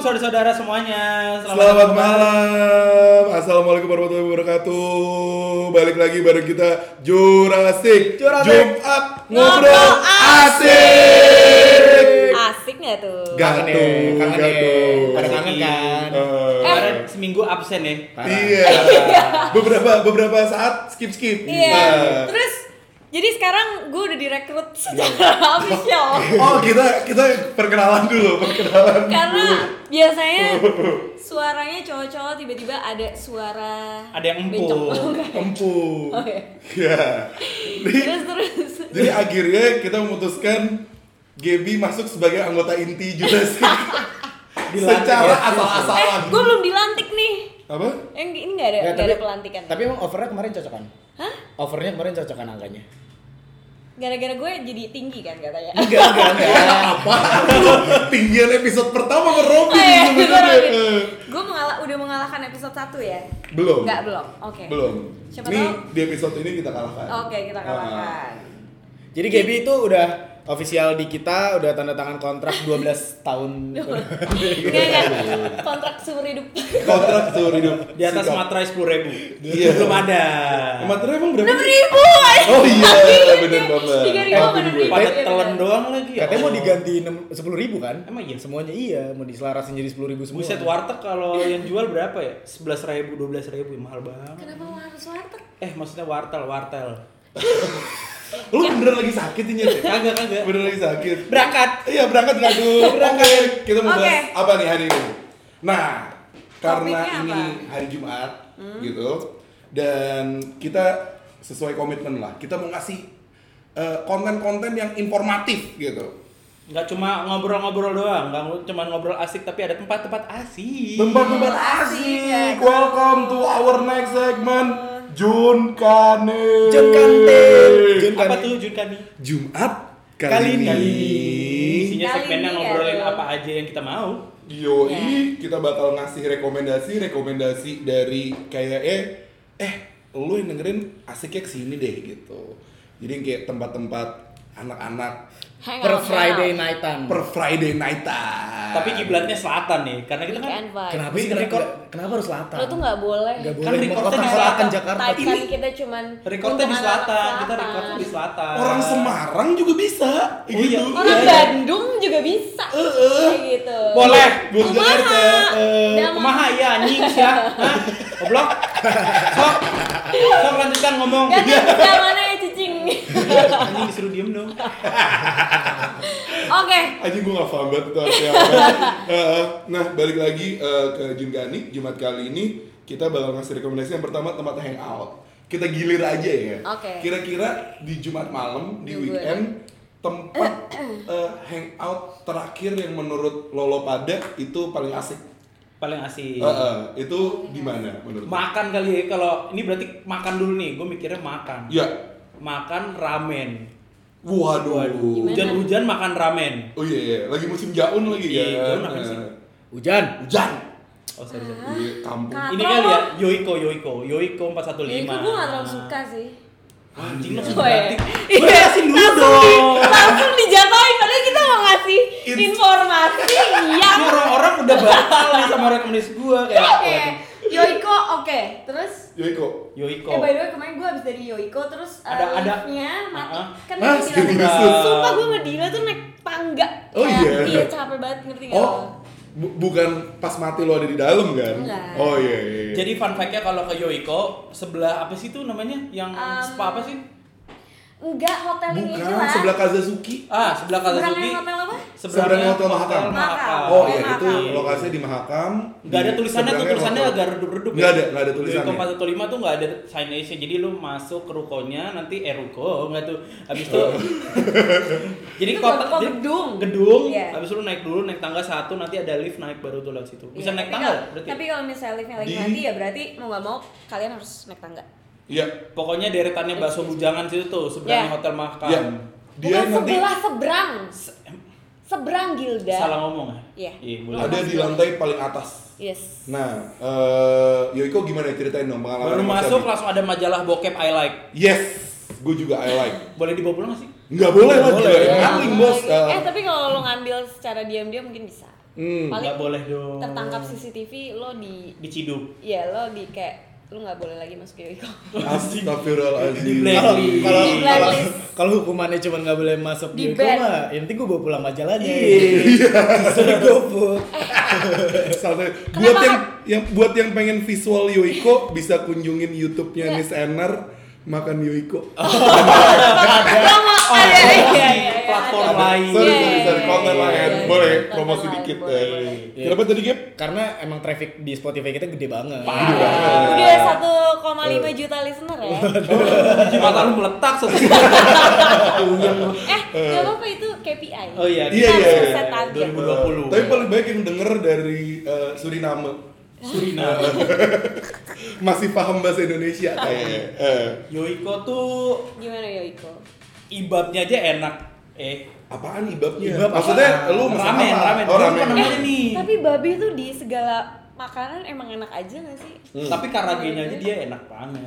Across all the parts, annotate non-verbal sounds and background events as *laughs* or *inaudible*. saudara-saudara semuanya. Selamat malam. Assalamualaikum warahmatullahi wabarakatuh. Balik lagi bareng kita Jurassic, Jurassic. Jumat ngobrol Ngobrol asik. Asik nggak tuh? Gak Kangen tuh, ya, Ah. kangen gak ya. tuh. Pada kangen kan? Eh, Kemarin seminggu absen ya. Parah. Iya. beberapa beberapa saat skip skip. Nah. Iya. Terus jadi sekarang gue udah direkrut Iya. secara *laughs* ya official Oh kita kita perkenalan dulu *laughs* perkenalan. karena *laughs* biasanya suaranya cowok-cowok tiba-tiba ada suara Ada yang empuk. bencong. Empu. Oh, iya. Iya. Jadi- terus terus Jadi akhirnya kita memutuskan Gaby masuk sebagai anggota inti *laughs* Jurassic Dilantik secara ya. asal-asalan. gue Eh, belum dilantik nih Apa? *laughs* yang ini nggak ada Ya, nggak ada pelantikan Tapi emang overnya kemarin cocokan. Hah? Overnya kemarin cocokan *laughs* angkanya. gara-gara gue jadi tinggi kan katanya Enggak, enggak, enggak. Apa? Tinggian episode pertama sama *laughs* Oh, Robin iya, ya? sebenarnya. Eh, gue mengalah udah mengalahkan episode 1 ya Belum. nggak belum oke Belum. Siapa Nih tahu- di episode ini kita kalahkan. Ah, oke kita kalahkan Jadi Gaby itu udah official di kita, udah tanda tangan kontrak 12 tahun. Enggak, enggak. Kontrak seumur hidup. Ah, kontrak seumur hidup Di atas Sikap. materai sepuluh ribu. Iya. *laughs* Belum ada. Materai emang berapa? Enam ribu. Oh iya, bener banget. Tiga ribu Eh, sama enam ribu. Pada Iya, telan bener. doang lagi. ya Katanya mau Allah. diganti 10 ribu kan? Emang iya? Semuanya iya, mau diselarasin jadi 10 ribu semua. Buset warteg kalau yang jual berapa ya? Sebelas ribu, dua belas ribu, ya, mahal banget. Kenapa lo harus warteg? Eh maksudnya wartel, wartel. Lu bener lagi sakit ini ya? *laughs* Kagak kagak. Bener lagi sakit. Berangkat. Iya berangkat nggak tuh? Berangkat. Kita mau Oke. bahas apa nih hari ini? Nah, karena Topiknya ini hari Jumat gitu dan kita sesuai komitmen lah. Kita mau ngasih eh, konten-konten yang informatif gitu. Nggak cuma ngobrol-ngobrol doang, nggak cuma ngobrol asik tapi ada tempat-tempat asik. Tempat-tempat asik. Welcome to our next segment Jun Kane. Jun Kane. Jun Apa Kane. tuh Jun Kani? Jumat kali, Kali ini. ini. Isinya Kali segmennya ini, ngobrolin Kak. apa aja yang kita mau. Yoi, kita bakal ngasih rekomendasi-rekomendasi dari kayak eh, eh lu yang dengerin asiknya kesini deh gitu. Jadi kayak tempat-tempat anak-anak Hang Per out, Friday hang out. nightan. per Friday nightan. Tapi kiblatnya selatan nih, karena kita kan Weekend vibe. Kenapa sih Ini kenapa, record- kenapa harus selatan? Lo tuh nggak boleh. Nggak Kan boleh. mau recordnya di kotak-kotakan selatan. Jakarta. Type kan Ini- kita cuman. recordnya di untuk selatan, anak-anak kita recordnya di selatan. Orang Semarang juga bisa Oh iya. gitu. Orang Iya. Bandung juga bisa. Kayak gitu. Boleh. buat Kumaha. Jakarta. eh, Damai. Kumaha ya anjing sih *laughs* ya. Hah? Goblok. Sok. Sok lanjutkan ngomong. Dan yang mana ya cicing? Anjing disuruh diem dong. Oke. Anjing gue gak paham banget itu artinya *laughs* apa. Eh, nah, balik lagi eh, ke Jungkani Jumat kali ini kita bakal ngasih rekomendasi yang pertama tempat hangout. Kita gilir aja ya. Oke. Kira-kira di Jumat malam di Tunggu. weekend tempat eh, hangout terakhir yang menurut Lolo pada itu paling asik. Paling asik. Eh, eh, itu di mana menurut? lo? Makan kali ya kalau ini berarti makan dulu nih. Gue mikirnya makan. ya. Makan ramen. Waduh. Gimana? Hujan-hujan makan ramen. Oh iya, iya, lagi musim jaun lagi Iya, kan. jaun apa sih? Eh, Hujan. Hujan. Oh sorry. sorry. Iya, kampung. Kak. Ini kali ya Yoiko Yoiko Yoiko 415. Itu gue nggak terlalu suka sih. Anjing lo Oh, iya. berarti. Iya. Gue kasih dulu Langsung di- dong. Langsung dijatuhin padahal kita mau ngasih It's- informasi Iya, yang *laughs* Ini orang-orang udah batal nih sama rekomendasi gue kayak. gitu. Oke. Yoiko oke. Terus Yoiko, Yoiko. Eh by the way kemarin gue abis dari Yoiko terus uh, Ada- ada. liftnya mati Ah, kan ah, gue bilang serius? tadi, sumpah gue ngedila tuh naik tangga Oh, iya. Kayak, iya capek banget ngerti nggak lo? Oh, bu- bukan pas mati lo ada di dalam kan? Enggak. Oh iya iya. iya. Jadi fun fact-nya kalau ke Yoiko sebelah apa sih tuh namanya yang Um, spa apa sih? enggak hotel ini Iya, bukan lah sebelah Kazazuki. Ah, sebelah Kazazuki. seberangnya hotel apa Seberangnya Hotel Mahakam. Mahakam. Oh, iya Mahakam. itu lokasinya di Mahakam. Gak Ah, ada tulisannya tuh, tulisannya agak redup-redup ya. Enggak ada, enggak ada Yoiko tulisannya. 415 tuh gak ada signage jadi lu masuk ke rukonya, nanti eh ruko, enggak tuh Habis Oh. itu *laughs* Jadi Itu kota, ruko jadi gedung. Gedung, Iya. habis itu lu naik dulu, naik tangga satu, nanti ada lift naik baru tuh lewat situ Bisa Iya, naik tapi tangga kalau- berarti? tapi kalau misalnya liftnya lagi Di- mati ya berarti mau nggak mau kalian harus naik tangga Iya. Pokoknya deretannya bakso bujangan situ tuh, seberangnya Iya. hotel makan Iya. Dia bukan nanti sebelah seberang seberang Gilda Salah ngomong ya? Iya. Iya, boleh ada di lantai paling atas. yes Nah, eh Yoiko gimana ceritain dong pengalaman Baru Mas masuk Abi. langsung ada majalah bokep I like. Yes, gue juga I like. Boleh dibawa pulang nggak ya. sih? Enggak boleh lah, Nggak gila. boleh. Ngaling bos. Eh Eh, tapi kalau lo ngambil secara diam-diam mungkin bisa Hmm. Paling nggak boleh dong tertangkap CCTV lo di diciduk ya lo di kayak lo nggak boleh lagi masuk *laughs* Yoiko. Di Astagfirullahaladzim. Kalau Di kalau kalau blacklist. kalau hukumannya cuma nggak boleh masuk Di di ban. koma, ya nanti gue bawa pulang majalahnya. Iya. Sudah GoFood. Salah satu- Kenapa, buat yang Kak? yang buat yang pengen visual Yoiko bisa kunjungin YouTube-nya Iya. Miss Enner makan Yoiko. Lo mau Oh, ada iya, iya, iya, platform ada. lain. sorry, sorry, sorry, Iya, konten iya, lain. iya, Boleh iya, promosi konten dikit. lain, eh. boleh, boleh. Kenapa tadi, Gap? Karena emang traffic di Spotify kita gede banget. Iya. boleh. Udah Eh. 1,5 juta listener ya. Di mata lu meletak satu Eh, nggak apa-apa itu KPI. Oh iya, Kita iya, harus iya, iya. set target. 2020. Tapi paling baik yang denger dari eh, Suriname. Suriname. *laughs* Masih paham bahasa Indonesia kayaknya. Eh, Yoiko tuh Gimana ya, Yoiko? ibabnya aja enak. Eh, apaan ibabnya? Ibab Maksudnya apaan? lu mesen ramen, apa? ramen. Oh, Gua lupa ramen. namanya nih. Eh, Tapi babi tuh di segala makanan emang enak aja gak sih? Hmm. Tapi karagenya aja dia enak banget.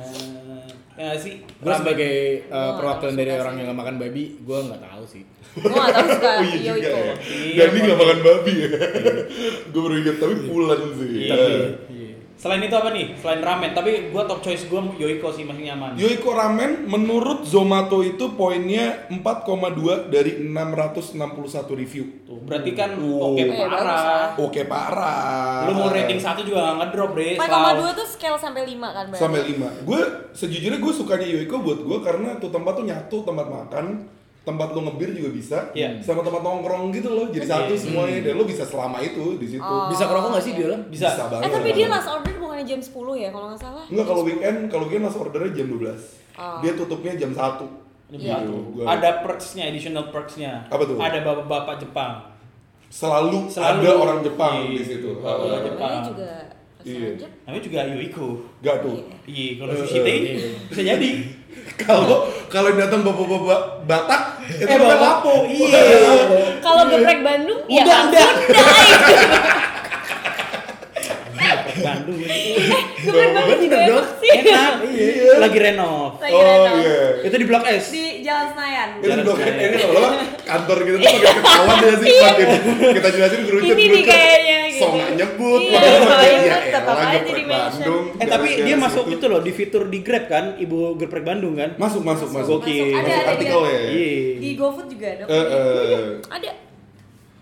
Ya nggak sih? Gue Ramen. sebagai uh, Gua nggak perwakilan tahu dari suka orang sih. yang nggak makan babi, gue nggak tahu sih. Gue gak tau *laughs* suka Oh iya juga Yoiko. ya. Iya, Dan dia Pak. gak makan babi ya. *laughs* Gue baru ingat tapi pulen sih. Iya. Eh. Selain itu apa nih? Selain ramen, tapi gua top choice gua Yoiko sih masih nyaman. Yoiko Ramen menurut Zomato itu poinnya 4,2 dari 661 review. Tuh, berarti kan Wow. oke Eh, Ah. bagus lah. parah. Oke parah. Lu mau rating satu juga nggak ngedrop, Bre. 4,2 tuh scale sampai 5 kan berarti? sampai 5. Gue sejujurnya gue sukanya Yoiko buat gue karena tuh tempat tuh nyatu, tempat makan, tempat lu ngebir juga bisa, Iya. sama tempat nongkrong gitu loh. Jadi Iya. satu semuanya dan lu bisa selama itu di situ. Oh. Bisa kerokok nggak sih di dalam? Bisa. banget. Eh tapi dia last order bukannya jam 10 ya kalau nggak salah? Enggak kalau weekend, kalau weekend mas ordernya jam 12. Oh. Dia tutupnya jam 1. Ini Iya. Gitu, satu. gua- Ada perks-nya, additional perks-nya. Apa tuh? Ada bapak-bapak Jepang. selalu, Selalu. ada orang Jepang Iya. di situ. Iya. Uh, Jepang. Namanya juga Iya. restoran Jepang. Namanya juga Yoiko. Gak tuh. Iya, kalau Eh, sushi eh, teh iya. bisa jadi. Kalau kalau yang datang bapak-bapak Batak, itu Eh, udah bapak- lapo. iya. Kalau Iya. geprek Bandung ya Udah, kan? udah. Bandung. Geprek Bandung juga Bener enak dong. sih. Enak. Iya. iya. Lagi renov. Lagi Oh renov. iya. Itu di Blok S. Di Jalan Senayan. Itu Jarang blok saya. ini lama-lama kantor gitu tuh pakai ketahuan ya sih makin kita jelasin kerucut Iya. Ini nih kayaknya gitu. Sok nggak nyebut. Iya, padahal sok makin, nyebut, tetap elah, aja geprek di mention. Bandung, Eh tapi gara-gara dia masuk Iya, situ. itu loh di fitur di Grab kan, Ibu Geprek Bandung kan? Masuk masuk masuk. Oke. Masuk, Ada Masuk ada artikel di- ya. Iya. Di GoFood juga ada. Iya, Eh, eh. Ada.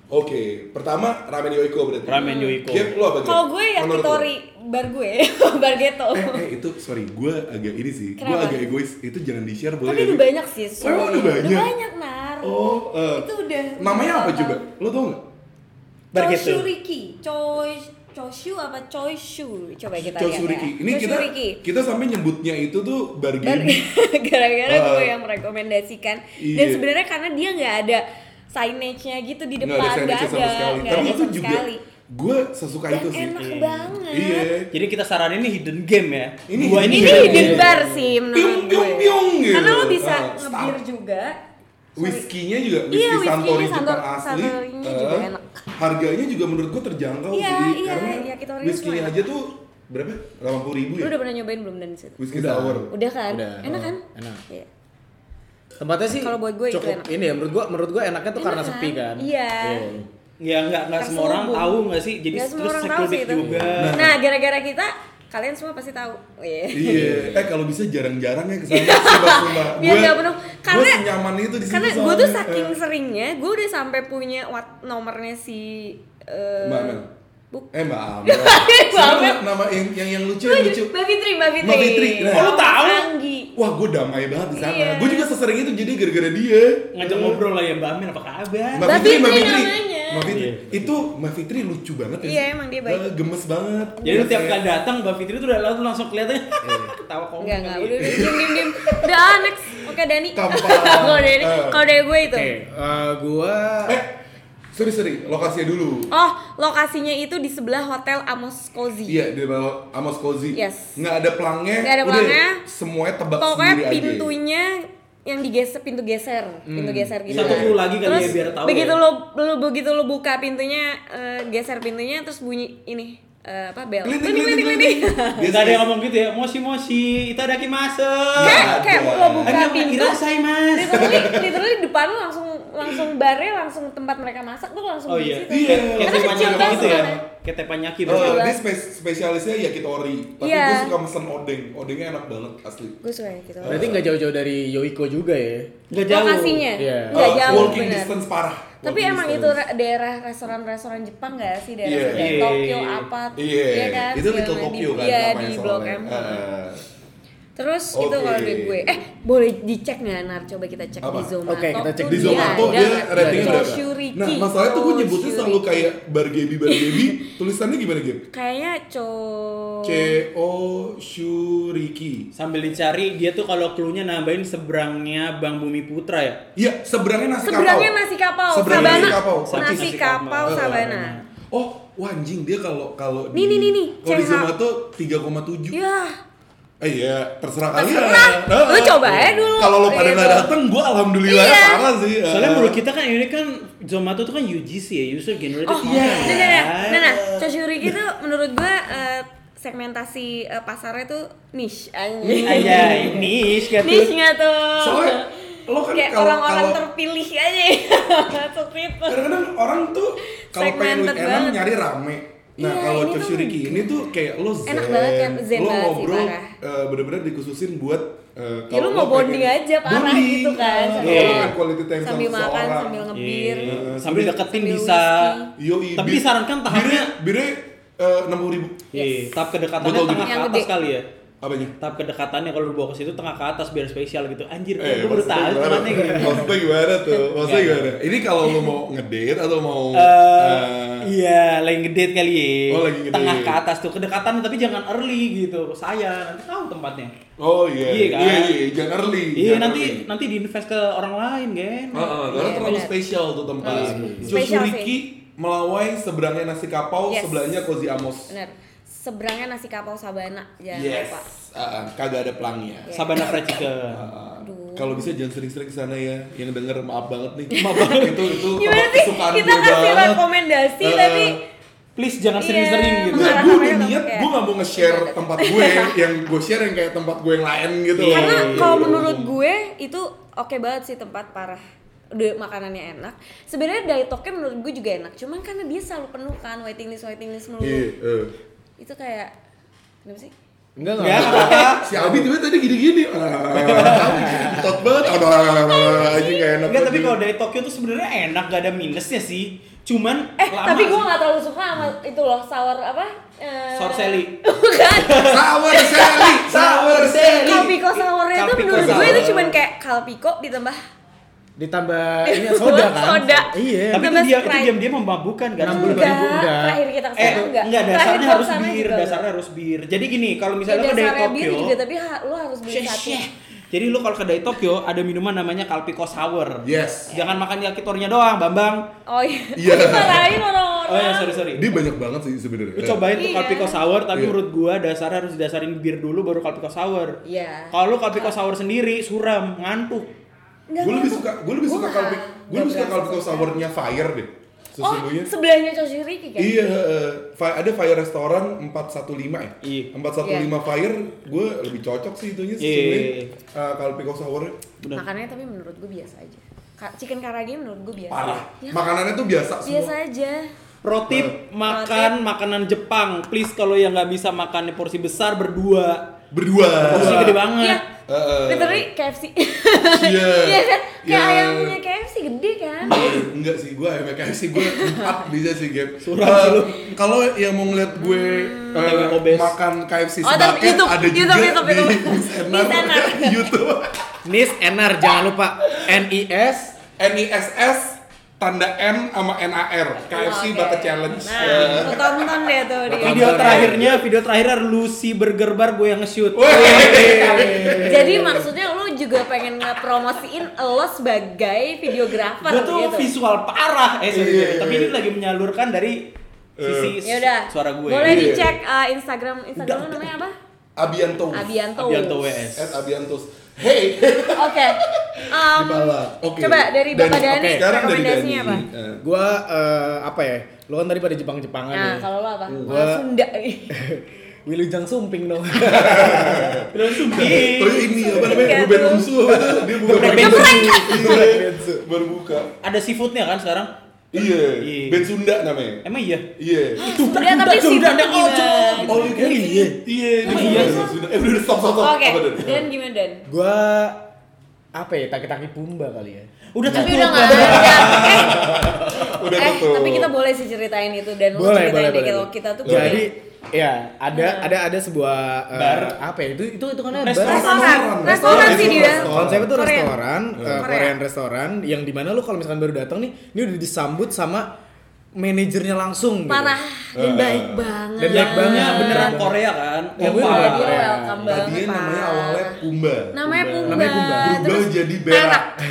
Oke, pertama ramen yoiko berarti. Ramen Yoiko. Gap lo apa Gap? Kalau gue ya Menurut lo? Kitori, bar gue, *laughs* bar ghetto. eh, eh itu sorry gue agak ini sih gue Kenapa? agak egois itu jangan di share boleh Tapi udah gak sih? banyak sih. Oh, emang udah banyak? Udah banyak, Nar. oh eh, Itu udah. namanya apa udah coba tahu. lo tau nggak Bar gitu. ghetto. Choshuriki. Choi Choshu apa Choishu? Coba kita lihat. Chosuriki ya. ini kita Choshuriki. kita sampai nyebutnya itu tuh Dan bargain *laughs* gara-gara Ah. gue yang merekomendasikan dan Iya. sebenarnya karena dia nggak ada signage-nya gitu di depan nggak ada nggak sandwich ada sama sekali nggak tapi ada itu sama juga sekali gue sesuka Dan itu sih enak Iya. banget iya Jadi kita saranin ini hidden game ya. Ini Dua hidden ini game. ini Iya. hidden hidden game. bar sih menurut Piung, piung, gue. piung gitu. karena lo bisa Ah, ngebir stop. juga Whiskinya juga, Iya, whisky whisky-nya Santori Santor- Jepang asli. Santorinya juga Eh, enak. Harganya juga menurut gue terjangkau Iya, sih, iya, karena iya, kita orangnya whiskynya semua aja tuh berapa? 80 ribu lo ya? udah pernah nyobain belum dan situ Whisky Udah. sour. udah kan Udah. enak kan Enak. Iya. Tempatnya sih Kalau buat gue itu cukup enak. ini ya menurut gue menurut gue enaknya tuh Enak karena kan? sepi kan. Iya. Iya. Ya nggak nggak semua orang Terselubung. tahu nggak sih? Jadi Nggak semua terus orang tahu sih secret itu. juga. nah gara-gara kita kalian semua pasti tahu Iya. Iya, eh kalau bisa jarang-jarang ya *laughs* kesana Sumpah-sumpah Biar Gua- Iya, nggak penuh. gua Karena- senyaman itu di situ karena gue tuh soalnya. saking Eh, seringnya gue udah sampai punya wat nomornya si eh, Mbak Amel Buk- Eh *laughs* Mbak Amel Siapa Amel. Nama yang, yang, yang lucu, yang Mbak lucu Fitri, Mbak Fitri. Mbak Iya, Fitri, nah. Oh, lu tahu? Anggi. Wah gue damai banget di sana. Iya. Gue juga sesering itu jadi gara-gara dia. Ngajak ngobrol lah ya Mbak Amin apa kabar? Iya. Mbak Mbak Fitri, Mbak Fitri Fitri. namanya. Mbak Fitri. Iya. Itu Mbak Fitri lucu banget ya. Iya, sih? emang dia baik. Eh, gemes banget. Jadi lu tiap Biasanya. kali datang Mbak Fitri tuh udah langsung langsung kelihatannya Iya. *laughs* ketawa komik. Enggak, enggak, kali udah, ya. udah, diem, diem, diem Udah, *laughs* ah, next Oke, Dani *laughs* Tampar. Kalau dari, Eh. kalau dari gue itu Oke, eh, gua Eh, sorry sorry, lokasinya dulu. Oh, lokasinya itu di sebelah Hotel Amos Cozy Iya, di bawah Amos Cozy. Yes. Nggak ada pelangnya. Nggak ada udah, pelangnya. Semuanya tebak Pokoknya sendiri aja. pintunya yang digeser pintu geser pintu geser gitu Satu clue lagi kali ya, terus biar tahu begitu ya. lo lo begitu lo buka pintunya eh, geser pintunya terus bunyi ini eh, apa bel Keliling, Klinik, keliling, klinik, klinik. Dia nggak ada yang ngomong gitu ya, moshi moshi, itu ada kimase. kayak kayak lo Ada buka pintu saya mas. literally literally depan lo langsung langsung barnya langsung tempat mereka masak tuh langsung Oh di iya. situ. Iya. Kayak Karena gitu. teppanyaki kecil banget kan. gitu Iya. ya. soalnya. Kayak teppanyaki Oh, berarti. dia spe- spesialisnya yakitori. Tapi Iya. gue suka mesen odeng. Odengnya enak banget asli. Gue suka yang gitu. Berarti nggak jauh-jauh dari Yoiko juga ya? Nggak jauh. Lokasinya Iya. nggak Oh, jauh Walking bener. distance parah. Tapi Walking emang itu distance. ra- daerah restoran-restoran Jepang gak sih daerah Iya. daerah Iya. Tokyo apa? Iya, iya kan? itu Segala Little macam. Tokyo kan Iya namanya di soalnya. eh. Blok M. Heeh. Terus itu Oke. kalau dari gue, eh boleh dicek nggak Nar? Coba kita cek Apa? di Zomato. Oke, kita cek tuh di dia Zomato ada dia nggak? ratingnya Joe berapa? iya, Shuriki. Nah, masalahnya tuh gue Joe nyebutnya selalu Shuriki. kayak bargebi bargebi. *laughs* Tulisannya gimana Gib? Kayaknya co. Oh. C O Shuriki. Sambil dicari dia tuh kalau clue-nya nambahin seberangnya Bang Bumi Putra ya. Iya, seberangnya nasi kapau. Seberangnya nasi kapau, Seberangnya sabana. nasi kapau. Sapi Nasi nasi kapau, kapau. sabana. Oh, wah anjing dia kalau kalau Nih, nih, nih, nih, Kalau di CH. Zomato 3,7. Ya, Eh iya, terserah kalian. terserah. Heeh. Lu coba ya dulu. Kalau lo pada Gitu. nggak dateng, gue alhamdulillah Iya. parah sih. Soalnya menurut kita kan ini kan Zomato tuh kan UGC ya, user generated Oh, content. nah, nah, gitu. nah, nah, nah, Choshuriki itu menurut gua eh, segmentasi eh, pasarnya tuh niche anjing. Aja ini gitu. Niche nggak tuh? Soalnya *laughs* lo kan kayak kalau- orang-orang kalau- terpilih aja. *laughs* gitu. Seperti itu. kadang-kadang orang tuh kalau pengen Segmented weekend enak banget. nyari rame nah Iya, kalau ini tuh- Coshuriki ini tuh kayak lo zen, Enak banget kan, zen lo banget sih, ngobrol parah. eh, bener-bener dikhususin buat eh, Ya lu mau bonding aja parah gitu kan. sambil Iya. makan quality time sama sambil makan, seseorang. sambil ngebir. Iya. Sambil deketin Sambil bisa. whisky. Yoi, Tapi bir- disarankan birnya tahapnya birnya enam ribu Iya, tahap kedekatannya Botol tengah gede. ke Yang atas gede. kali ya. apanya Tahap kedekatannya kalau lu bawa ke situ tengah ke atas biar spesial gitu. Anjir, gue Eh, baru maksudnya tahu gimana? *laughs* temannya gitu. Maksudnya gimana tuh? Maksudnya Enggak. gimana? Ini kalau lo *laughs* mau ngedate atau mau Iya. Eh, eh, iya, lagi ngedate kali ya. Oh, lagi ngedate. Tengah ke atas tuh kedekatan tapi jangan early gitu. Saya nanti tahu tempatnya. Oh iya, Iya, kan? iya, iya, Oh, jangan early. Iya, jangan nanti early. nanti diinvest ke orang lain, gen. Heeh, karena Iya, terlalu benar. Iya, spesial tuh tempat. Spesial Joshuriki melawai seberangnya nasi kapau, Yes. sebelahnya Kozi Amos. Bener. Seberangnya nasi kapau sabana. Jangan yes. lupa. Ah, ah, kagak ada pelangnya. Sabana Fried *laughs* Chicken. Ah, Aduh. Kalau bisa jangan sering-sering kesana ya. Yang denger maaf banget nih. Maaf *laughs* banget itu itu Gimana tempat sih? kesukaan Kita gue kasih banget. rekomendasi Eh, tapi Please jangan sering-sering Iya, *laughs* gitu. Enggak, Karena gue udah namanya niat, kayak- gue gak mau Iya, nge-share tempat gue yang gue share yang kayak tempat gue yang lain gitu. Iya, karena iya, kalau menurut gue itu oke banget sih tempat parah udah makanannya enak sebenarnya dari Tokyo menurut gue juga enak cuman karena dia selalu penuh kan waiting list waiting list melulu Iya, eh. itu kayak kenapa sih Enggak Enggak apa-apa. Si Abi tiba tadi gini-gini. Ah, Tot banget. Aduh, aja gak enak. Enggak, tapi banget. kalau dari Tokyo tuh sebenarnya enak, gak ada minusnya sih. Cuman eh lama tapi gue sih. nggak terlalu suka sama itu loh sour apa eh, Sorselli. bukan Sour *laughs* Sally, Sour Sally. kalpiko sournya itu Iya, Kalpiko menurut gue sour. itu cuman kayak kalpiko ditambah Ditambah ini *laughs* soda kan? Soda. Iya. Tapi itu Tambah dia itu Sprite. dia dia memabukkan kan. Enam puluh sebenarnya. ribu udah. terakhir kita kesana Eh, enggak enggak, dasarnya Terakhir harus kesana bir, juga. dasarnya harus bir. Jadi gini, kalau ya, misalnya lo dari dasarnya bir Tokyo, juga tapi ha- lu harus beli Sheh, satu sheh. Jadi lu kalau kedai Tokyo ada minuman namanya Kalpiko Sour. Yes. Jangan makan yakitorinya doang, Bambang. oh iya Iya. *laughs* dimarahin orang-orang Oh ya, sorry sorry. Dia banyak banget sih sebenarnya. Lu cobain tuh Iya. Kalpiko Sour, tapi Iya. menurut gua dasarnya harus dasarin bir dulu baru Kalpiko Sour. Iya. Kalau lu Kalpiko Sour sendiri suram, ngantuk. Nggak Gue lebih ngantuk. suka, gue lebih Gua suka nggak- kalau gue nggak lebih suka berasa kalau kau sournya fire deh. Oh, Sesungguhnya. sebelahnya Choshiriki kan? Iya, eh, Fi- ada Fire Restaurant 415 ya? Iya. 415 Fire, gue lebih cocok sih Iya. itunya sesungguhnya Eh, kalau Pico Sour Bener. Makanannya tapi menurut gue biasa aja. Ka- Chicken karage menurut gue biasa. parah. Ya, Makanannya tuh biasa biasa semua. aja. Pro tip, makan makanan Jepang. Please kalau yang nggak bisa makan porsi besar berdua. Berdua. Porsi gede banget. Iya. Heeh. Literally KFC. Eh, Iya. *laughs* Iya kan? Kayak Iya. ayamnya KFC gede kan? Enggak sih, gue MKM sih, gue empat bisa sih game Suram Eh, sih lu. Kalau yang mau ngeliat gue eh, Yang obes. makan KFC Hmm. Oh, tapi sebaket, YouTube, ada YouTube, juga YouTube, *laughs* di YouTube. Senar. Di Senar. YouTube Nis Enar jangan lupa N I S NISS tanda N sama NAR KFC Oh, Oke. Bucket Challenge Nah, Eh, lu tonton deh tuh dia. Video terakhirnya, video terakhir Lucy Burger Bar gue yang nge-shoot. Weh. Jadi maksudnya lu juga pengen ngepromosiin lo sebagai videografer Gue tuh gitu. visual parah. Eh, sorry, Iya, sorry. iya, Tapi iya. Eh. ini lagi menyalurkan dari sisi Ya udah. suara gue. Boleh Iya. dicek eh, Instagram Instagram lu namanya apa? Abianto. Abianto. Abianto WS. At Abiantos. Hey. Oke. Em, Dipala. Oke. Um, Coba dari Bapak Dani. Dani, Oke, sekarang dari rekomendasinya Dani. apa? Eh, gua eh, apa ya? Lu kan tadi pada Jepang-Jepangan Nah, ya. kalau Iya, lo apa? Gua- Orang Sunda nih. *laughs* Willy Jang Sumping dong. Terus Eh. Iya. Terus Sumping. ini apa namanya? Iya, Ruben tuh. Onsu apa tuh? Dia buka Geprek pakai Bensu. Bensu. Iya, Baru buka. Ada seafoodnya kan sekarang? Iya. Iya. Ben Sunda namanya. Emang iya? Iya. Itu Sudah, tapi Oh, seafoodnya gimana? Oh, All you can Iya. eat. Iya. dia Emang buka iya? Ben Sunda. Eh udah udah, stop stop stop. Oke, Apa, Dan? Dan gimana Dan? Gua apa ya? Taki-taki Pumba kali ya. Udah Tapi tutup. udah nggak ada. Eh, Udah eh, tutup. tapi kita boleh sih ceritain itu dan lu boleh ceritain boleh deh boleh. kalau kita tuh Nah. punya- jadi ya ada ada ada sebuah eh, Bar. apa ya itu itu itu kan ada Restoran. bar. restoran, restoran sih dia. Konsepnya tuh Korea. restoran, eh, Korea. Korean restoran yang dimana lu kalau misalkan baru datang nih, ini udah disambut sama manajernya langsung. gitu. Parah dan Eh. baik banget. Dan baik banget, Punya Iya. beneran Beneran. Korea kan? Oh, Ya, Opa. beneran Dia Korea. welcome banget. Tadinya eh, namanya Pak. awalnya Pumba. Namanya Pumba. Namanya Pumba. Berubah Terus jadi berak.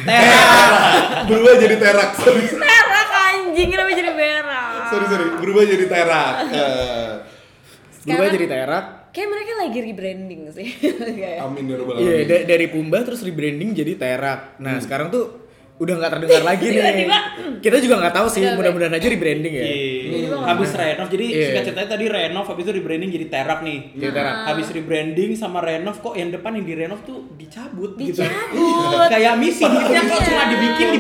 Terak. Berubah jadi terak. Sorry, berak anjing kenapa jadi berak? sorry, sorry. Berubah jadi terak. Eh, Berubah Sekarang- jadi terak. Kayak mereka lagi rebranding sih. Kayak- Amin ya rabbal Iya, alamin. da- dari Pumba terus rebranding jadi Terak. Nah, sekarang tuh udah nggak terdengar lagi nih. Hmm. Tiba-tiba. Kita juga nggak tahu sih, Udah, udah. mudah-mudahan aja rebranding ya. Iya. Habis renov, jadi Iya. singkat ceritanya tadi renov, habis itu rebranding jadi terak nih. Iya, Jadi Terak. Ah. Habis rebranding sama renov, kok yang depan yang di renov tuh dicabut, gitu. *laughs* Dicabut. Kayak misi, Iya. hidupnya kok cuma dibikin di...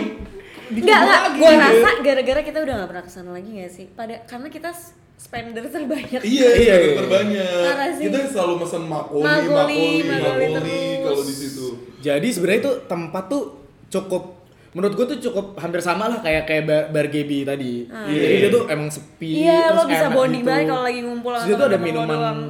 Enggak, enggak. Gue gitu. rasa gara-gara kita udah gak pernah kesana lagi gak sih? Pada karena kita s- spender terbanyak. Iya, Iya, iya, iya. terbanyak. Parah sih. Kita selalu mesen makoli, Makoli, makoli, makoli makoli terus. kalau di situ. Jadi sebenarnya itu tempat tuh cukup menurut gue tuh cukup hampir sama lah kayak kayak bar, bar Gebi tadi. Iya. Jadi dia tuh emang sepi. Ah. Iya, terus lo bisa enak bonding gitu. banget kalau lagi ngumpul Terus sama dia tuh ada temen-temen lo minuman doang.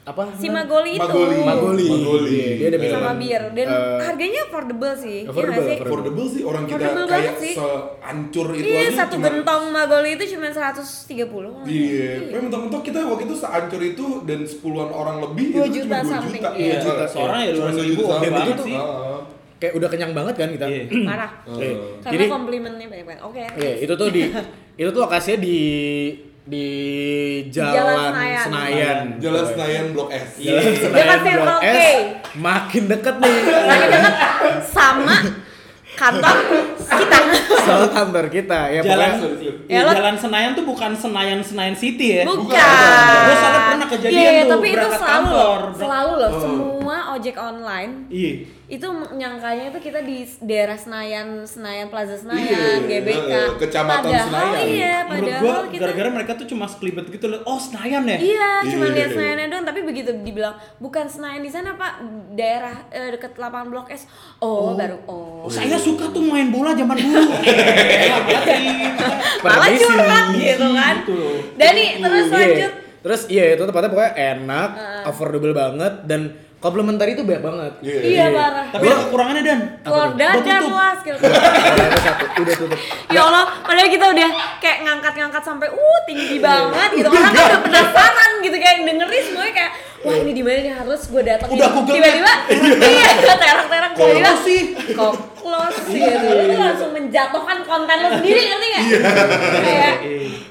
apa? Si Magoli itu. Magoli. Magoli. Magoli. Iya, dia ada Sama minuman Sama bir dan eh, harganya affordable sih. iya affordable, gak sih? affordable. Affordable sih orang kita Affordable kayak banget sih. seancur itu Iya, aja. satu cuma- gentong Magoli itu cuma 130. kan? Iya, tapi mentok-mentok kita waktu itu seancur itu dan sepuluhan orang lebih Dua itu juta cuma 2 something, juta. iya. Dua Juta, seorang ya Cuma 200 dua ribu, juta oke sama. banget Ah, sih. ah. kayak udah kenyang banget kan kita. Iya. Parah. Iya. Karena Jadi komplimennya banyak banget. Oke. Iya, itu tuh *laughs* di itu tuh lokasinya di di Jalan, Jalan Senayan. Senayan. Jalan Senayan Blok S. Eh, Iya. Jalan Dekat Senayan Central Blok S, K. makin deket nih. Lagi deket sama kantor kita. Iya, Soal kantor kita ya Jalan, pokoknya- ya, Ya, lo- jalan Senayan tuh bukan Senayan Senayan City ya. Bukan. Gue soalnya pernah kejadian Iya, tuh tapi itu berangkat selalu kantor. loh, selalu loh semua ojek online Iya. itu nyangkanya itu kita di daerah Senayan, Senayan Plaza Iya, Senayan, GBK, iya, kecamatan padahal, Senayan. Iya, Menurut padahal gue kita gara-gara mereka tuh cuma sekelibet gitu loh. Oh Senayan ya. Iya, cuma Iya. lihat Senayannya doang, tapi begitu dibilang bukan Senayan di sana, Pak, daerah eh, dekat lapangan Blok S. Oh, baru oh. Oh, saya suka tuh main bola zaman dulu. *laughs* Eh, berarti. Malah Permisi. curhat gitu kan. Gitu loh. Dani, terus Iya. lanjut. Terus iya itu tempatnya pokoknya enak, affordable banget dan komplementari itu banyak banget. Iya. Iya, parah. Tapi ada kekurangannya dan. Keluar gitu. dadah tutup. lah skill. Udah ada satu, udah tutup. Ya Allah, padahal kita udah kayak ngangkat-ngangkat sampai uh tinggi banget gitu. Orang kan udah penasaran gitu kayak dengerin semuanya kayak wah ini di mana nih harus gue datang. Udah Google tiba-tiba iya terang-terang Kok tiba-tiba lo sih? kok close gitu. Lu tuh langsung menjatuhkan konten lo sendiri ngerti nggak? Kayak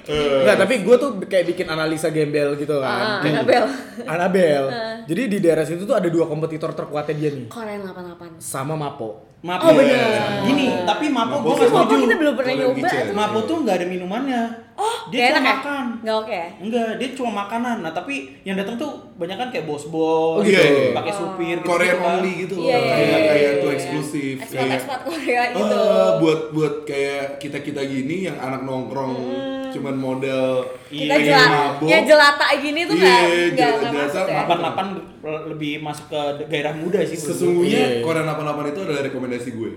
Enggak, tapi gue tuh kayak bikin analisa gembel gitu ah, kan. Annabel. Anabel. Jadi di daerah situ tuh ada dua kompetitor terkuatnya dia nih. Korean 88. Sama Mapo. Mapo. Oh, bener. Gini, tapi Mapo gue Itu gak Mapo setuju. kita belum pernah Korean nyoba kitchen. tuh. Mapo tuh nggak ada minumannya. Oh, dia gak cuma enak ya? makan. Gak oke ya? Enggak, dia cuma makanan. Nah, tapi yang datang tuh banyak kan kayak bos-bos, Oh, gitu. pakai supir, gitu, *laughs* iya, Korean kan. only gitu loh. Iya, iya, iya, Kayak kayak iya, tuh iya. eksklusif. Kayak- Ekspor-ekspor Korea gitu. Ah, buat buat kayak kita kita gini yang anak nongkrong cuman modal Hmm. kita pengen jelat, mabok. ya jelata gini tuh Iya, nggak nggak jelas- nggak masuk jelas ya. apa- 88 lebih masuk ke gairah muda sih. menurut gue. Sesungguhnya Iya. Korean 88 itu adalah rekomendasi gue.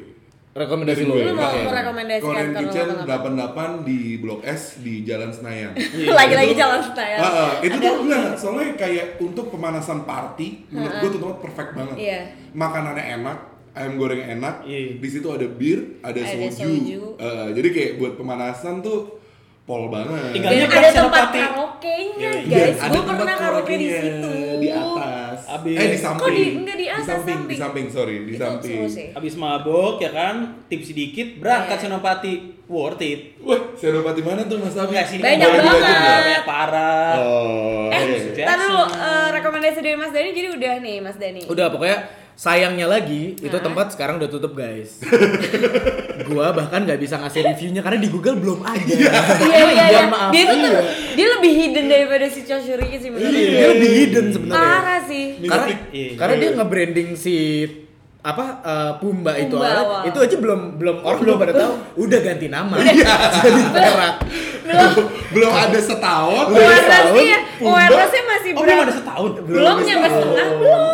Rekomendasi lu. Dari ya? Lu mau Oke. merekomendasikan Korean Korean Kitchen 88? 88 di Blok S di Jalan Senayan. Iya, *laughs* Lagi-lagi Itu- jalan Senayan. Ah, ah, itu tuh enggak, soalnya kayak untuk pemanasan party menurut gue tuh tempat perfect banget. Iya. Makanannya enak, ayam goreng enak. Iya. Di situ ada bir, ada, Ada soju. soju. Ah, jadi kayak buat pemanasan tuh pol banget. Tinggal Dan Kayaknya ada Pak tempat Senopati. karaoke-nya Iya, Dan guys, ada gue tempat pernah karaoke di karaoke-nya situ. Di atas. Abis. Eh di samping. di- enggak di atas, samping, di samping. samping, sorry, di Itu samping. seru sih. Habis mabok ya kan, tips sedikit berangkat Iya. Senopati. Worth it. Wah, senopati mana tuh Mas Abi? Enggak sih. Banyak boleh banget. dilanjut, banyak parah. Oh. Eh, iya. Jackson. ntar dulu eh, rekomendasi dari Mas Dani jadi udah nih Mas Dani. Udah pokoknya sayangnya lagi itu tempat sekarang udah tutup guys. *laughs* gua bahkan nggak bisa ngasih reviewnya karena di Google belum ada. Iya iya iya. Mohon maaf. Dia tuh Iya. tuh- dia lebih hidden daripada si Choshuriki sih menurut Iya, ya. gue. dia lebih hidden sebenarnya. Parah sih. Karena Iya. karena dia nge-branding si apa eh, Pumba, itu Pumba awalnya, awal. itu aja belum belum orang belum pada tahu udah ganti nama Iya. *laughs* jadi perak *laughs* belum ada setahun Belum ada Awarenessnya ya, setahun, Pumba. awarenessnya masih Oh, belum berapa? ada setahun. Belum nyampe setengah belum.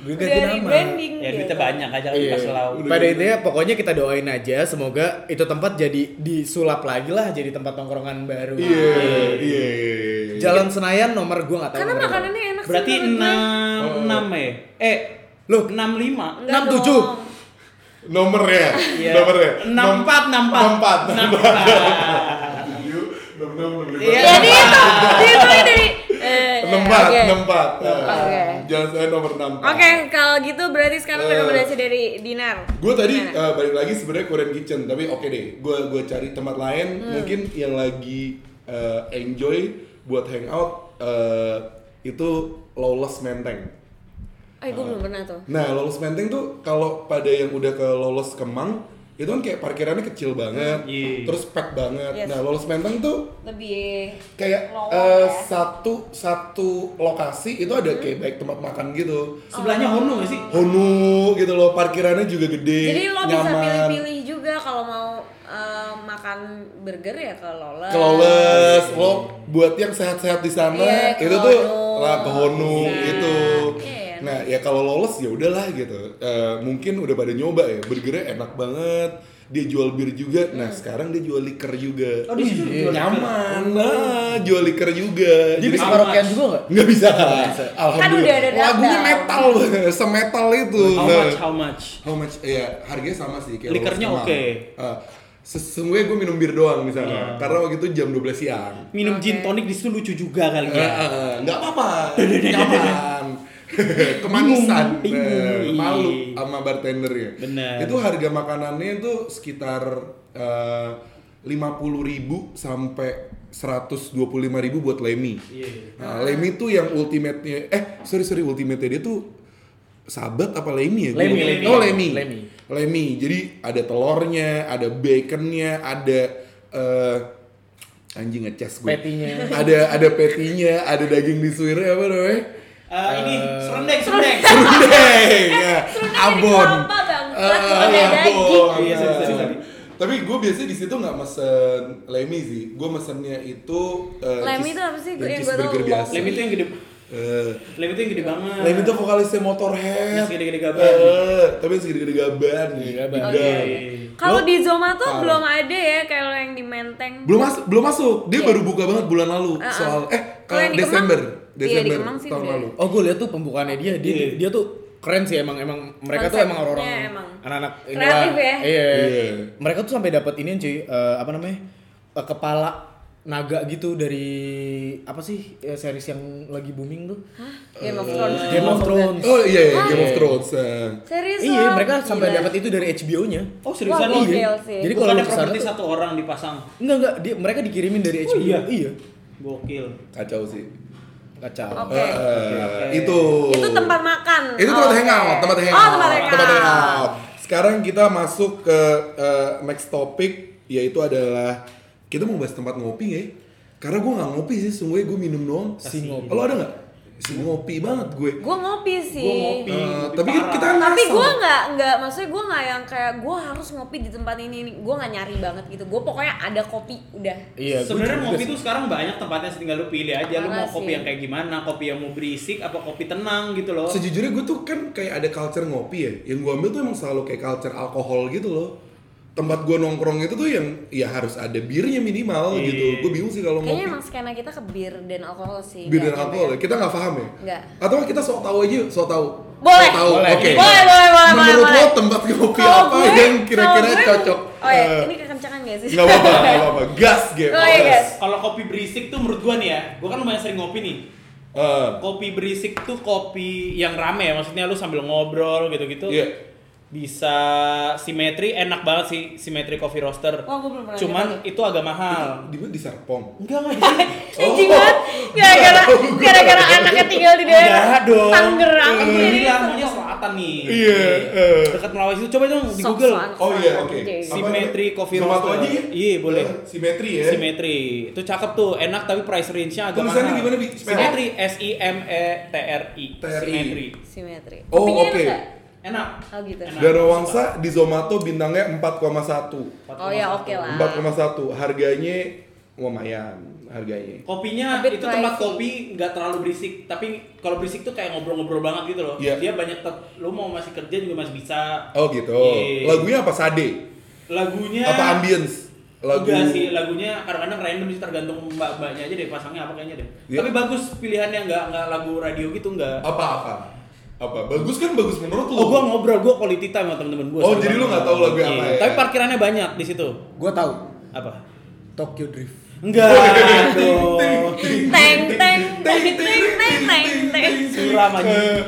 Udah ganti Dari nama branding. Ya gitu. duitnya banyak aja kan Iya. pas lau. Pada intinya pokoknya kita doain aja semoga itu tempat jadi disulap lagi lah jadi tempat tongkrongan baru. iya iya Jalan Senayan nomor gua nggak tahu. Karena nomor berapa. makanannya enak sih. Berarti menurut gue. 6 6 ya. Eh, Loh. 65. Enggak 67. dong. nomornya Iya. nomornya 64 64. 64. 64 Iya. Jadi itu, dia itu dari eh, Nempat, oke. nempat. Oke. Nah, Jalan saya nomor 6. Oke, kalau gitu berarti sekarang Eh. rekomendasi dari Dinar. Gue tadi eh, Gimana? balik lagi sebenarnya Korean Kitchen, tapi oke deh. Gue gue cari tempat lain Hmm. mungkin yang lagi eh, enjoy buat hangout eh, itu Lawless Menteng. Eh, gue belum pernah tuh. Nah, Lawless Menteng tuh kalau pada yang udah ke Lawless Kemang itu kan kayak parkirannya kecil banget, Iya. terus pack banget. Yes. Nah, Lawless Menteng tuh Lebih kayak Lowong eh, ya. Mm-hmm. satu satu lokasi itu ada kayak baik tempat makan gitu. Sebelahnya Hono gak sih? Honu gitu loh, parkirannya juga gede, Jadi lo nyaman. bisa pilih-pilih juga kalau mau eh, makan burger ya ke Lola. Keloles, lo buat yang sehat-sehat di sana Iya, ke itu tuh Honu. lah ke Honu Bisa. gitu. Iya. Nah ya kalau lolos ya udahlah gitu. Eh, mungkin udah pada nyoba ya, burgernya enak banget. Dia jual bir juga. Hmm. Nah sekarang dia jual liker juga. Oh, di situ jual Iya. Nyaman lah, jual liker juga. Dia bisa Jadi- karaokean juga nggak? nggak bisa. Kan udah ada Alhamdulillah. data. Lagunya metal, *laughs* semetal itu. How Nah. much? How much? How much? Iya, harganya sama sih. kayak Likernya Lawless oke. Ah. Kemang. Eh, sesungguhnya gue minum bir doang misalnya, karena waktu itu jam 12 siang. Minum gin tonic di situ lucu juga kali Eh, ya. eh, eh, Nggak *laughs* apa-apa, nyaman. *laughs* Kemanisan, Bingung, eh, bingung. malu sama bartendernya. Bener. Itu harga makanannya itu sekitar eh, lima puluh ribu sampai 125.000 ribu buat Lemmy. Iya. Nah, Lemmy tuh yang ultimate-nya, eh sorry sorry ultimate-nya dia tuh sahabat apa Lemmy ya? Gua Lemmy, lupa. Lemmy. Oh Lemmy. Lemmy. Lemmy. Jadi ada telurnya, ada baconnya, ada eh anjing ngeces gue. Patty-nya. Ada ada petinya, ada daging disuirnya apa namanya? Eh, ini serendeng, serendeng. Serundeng. *laughs* ya. serundeng dari Abon. kelapa, Bang. Bukan Eh, dari daging. abon. Iya, sorry, sorry, sorry. Tapi gue biasanya di situ nggak mesen Lemmy sih. Gue mesennya itu eh, Lemmy cheese- tuh apa sih? yang Gua- yang gua cheeseburger tahu biasa. Lem itu yang gede. Eh, Lem itu yang gede banget. Lem itu vokalisnya Motorhead. Yang segede-gede gaban. Oh, Eh, tapi yang segede-gede gaban. gaban. Bidang. iya, Oke. Kalau Lo- di Zomato Parah. belum ada ya kalau yang di Menteng. Belum masuk, belum masuk. Dia baru buka banget bulan lalu. Ah, ah. Soal eh kalau Kalau Iya. yang di Desember, Kemang- iya, di Desember Kemang sih tahun udah. lalu. Oh gue lihat tuh pembukaannya dia, dia Iya. dia tuh keren sih emang emang mereka tuh Konsepnya emang orang-orang emang. anak-anak inilah. Kreatif ya. Iya. Iya. Mereka tuh sampai dapat ini cuy, eh, apa namanya? eh, kepala naga gitu dari apa sih eh, series yang lagi booming tuh? Hah? Ah, Game of Eh, Thrones. Game of Thrones. Oh iya, iya, Game of Iya. Thrones. eh. Serius? Iya, lo? mereka sampai Gila. dapat itu dari HBO-nya. Oh, seriusan ini. Wah, gokil sih. Iya. Jadi Jadi kalau kalau ada lu kesana properti tuh- satu orang dipasang. Enggak enggak, dia mereka dikirimin dari HBO. iya? iya. Gokil. Kacau sih. Kacau. Oke. Eh, eh, Itu. Itu tempat makan. Itu tempat Oh, hangout, oke. tempat hangout. Oh, tempat hangout. hangout. Sekarang kita masuk ke eh, next topic yaitu adalah kita mau bahas tempat ngopi ya. Karena gue nggak ngopi sih, sungguh gue minum doang. Si ngopi. Lo ada nggak? Si ngopi banget gue. Gue ngopi sih. Gua ngopi. Eh, ngopi tapi kan parah. kita tapi ngasal. gue nggak nggak maksudnya gue nggak yang kayak gue harus ngopi di tempat ini ini gue nggak nyari banget gitu gue pokoknya ada kopi udah Iya, gua Sebenarnya juga ngopi sih. tuh sekarang banyak tempatnya tinggal lu pilih aja lu Parah mau kopi sih. yang kayak gimana, kopi yang mau berisik apa kopi tenang gitu loh. Sejujurnya gue tuh kan kayak ada culture ngopi ya. Yang gue ambil tuh emang selalu kayak culture alkohol gitu loh. Tempat gue nongkrong itu tuh yang ya harus ada birnya minimal Iya. gitu. Gue bingung sih kalau kayaknya ngopi emang skena kita ke bir dan alkohol sih bir dan nggak alkohol ya. kayak- Kita nggak paham ya. Nggak. Atau kita sok tahu aja, sok tahu. Boleh. Sok tahu. Boleh. Oke. Boleh, boleh, boleh, Menurut lo boleh, boleh. tempat ngopi Kalau apa gue- yang kira-kira kalau gue- cocok? oh ya Eh, ini kekencangan gak sih nggak apa-apa, nggak *laughs* apa-apa. Gas game. Oh, iya, gas. gas. Kalau kopi berisik tuh menurut gua nih ya, gua kan lumayan sering ngopi nih. Eh, Kopi berisik tuh kopi yang rame ya, maksudnya lu sambil ngobrol gitu-gitu. Iya. bisa simetri enak banget sih simetri coffee roaster. Wah, gua belum pernah Cuman itu agak mahal. Di mana di Serpong? Enggak enggak di sini. Jijik banget gara-gara gara-gara anaknya tinggal di daerah Enggak dong. Tangerang. Eh. Kan gua gitu. bilang maunya selatan nih. Iya, eh. Dekat Melawai itu coba dong di Google. Sok-sokan, Oh iya, oke. sok-sokan, anjing. Apa Simetri namanya? coffee Nama tuh roaster. aja ya? Iya, boleh. Eh, Simetri ya. Simetri. Itu cakep tuh, enak tapi price range-nya agak Tulisannya mahal. gimana, Bi? Spell. Simetri S I M E T R I. TRI. Simetri. Simetri. Oh, Kopinya enak oke. nggak? Enak. Oh gitu. Enak. Darawangsa di Zomato bintangnya 4,1. Oh ya oke lah. 4,1. Harganya lumayan harganya. Kopinya Tapi itu tempat pricey. kopi nggak terlalu berisik, tapi kalau berisik tuh kayak ngobrol-ngobrol banget gitu loh. Iya. Dia banyak tet- lu mau masih kerja juga masih bisa. Oh gitu. Iya. Lagunya apa Sade? Lagunya Apa ambience? Lagu Enggak sih, lagunya kadang-kadang random sih tergantung mbak-mbaknya aja deh pasangnya apa kayaknya deh. Iya. Tapi bagus pilihannya nggak nggak lagu radio gitu nggak. apa apa? Apa? Bagus kan bagus menurut lu. Oh, gua ngobrol, gua quality time sama temen-temen gua. Oh, Sama jadi lu temen-temen. nggak tahu lagu apa Iya. ya? Tapi parkirannya banyak di situ. Gue tahu Apa? Tokyo Drift. Enggak dong. Teng teng teng teng teng teng teng. Suram aja. Eh,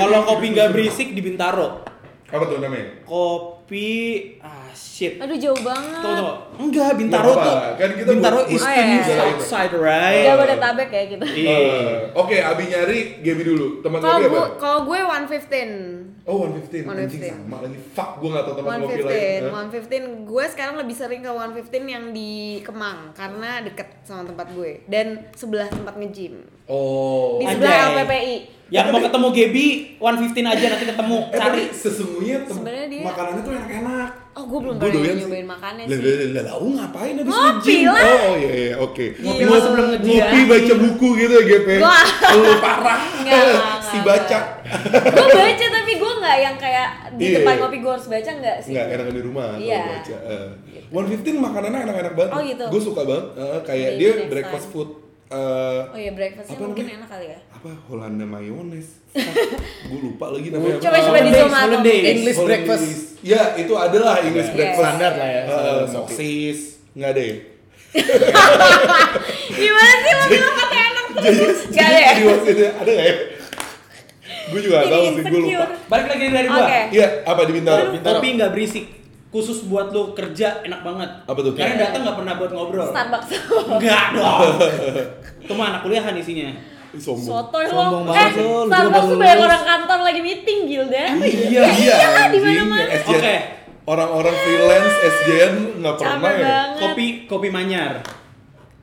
Kalau ini- kopi nggak berisik di Bintaro. Apa tuh namanya? Kopi ah shit. Aduh jauh Tunggu, banget. tunggu. Eh, Enggak, Bintaro Nggak tuh. apa-apa, kan kita Bintaro buat- is buat- the Oh, iya, iya. south side, right? Jawa Tabek ya gitu. Iya. Eh, Oke, Abi nyari Gaby dulu. Teman Kalau kopi apa? gue kalau gue 115. Oh, 115. Anjing 115. sama lagi. Fuck, gua enggak tahu teman kopi lain. 115, Eh, 115. Gue sekarang lebih sering ke 115 yang di Kemang karena deket sama tempat gue dan sebelah tempat nge-gym. Oh. Di Anjay. sebelah LPPI. Yang Ya, mau ketemu Gaby 115 aja nanti ketemu. Eh, Cari. tapi sesungguhnya tem- Sebenarnya dia- makanannya tuh enak-enak. Oh, gue belum Gua pernah doyan ya nyobain sih. makannya Lah, sih. lah, lah, lah, lu ngapain habis Ngopi nge-gym? lah. Oh iya iya oke. Ngopi mah sebelum nge-gym. Ngopi baca buku gitu ya GP. Wah. Lu parah. Nggak, nggak, *laughs* si nggak. baca. gue baca tapi gue nggak yang kayak di Iya, depan iya. kopi gue harus baca nggak sih? Enggak, enak di rumah kalau Iya. Gitu. baca. eh. 115 makanannya enak-enak banget. Oh, gitu. Iya, Gue suka banget. Eh, kayak Maybe dia next breakfast time. food eh, Oh iya breakfastnya Apa mungkin namanya? enak kali ya. apa Holanda *laughs* mayones. gue lupa lagi namanya. apa. Coba coba di Holidays, Zomato. holidays. mungkin. English Hollandaise. breakfast. Ya, itu adalah English Iya. breakfast. Standar lah ya. Eh, standar kopi. sosis. Enggak ada ya? Gimana sih lo bilang kata enak terus? Gak ada ya? Jadi waktu itu ada nggak ya? gue juga nggak Jadi tahu sih, gue lupa. insecure. Balik lagi dari gua. Oke. Iya, apa di Bintaro? Kopi nggak berisik. Khusus buat lo kerja enak banget. Apa tuh? Karena datang nggak pernah buat ngobrol. Starbucks. *laughs* Enggak dong. Itu mah anak kuliahan isinya. Ih, Sombong. Sotoy Sombong lo. Eh, banget lo, lu juga Starbucks baru tuh banyak lulus. orang kantor lagi meeting Gilda. Iya, iya, di anjing. mana-mana. SJN. Oke. Orang-orang freelance SJN nggak pernah Capek ya. banget. Kopi kopi manyar.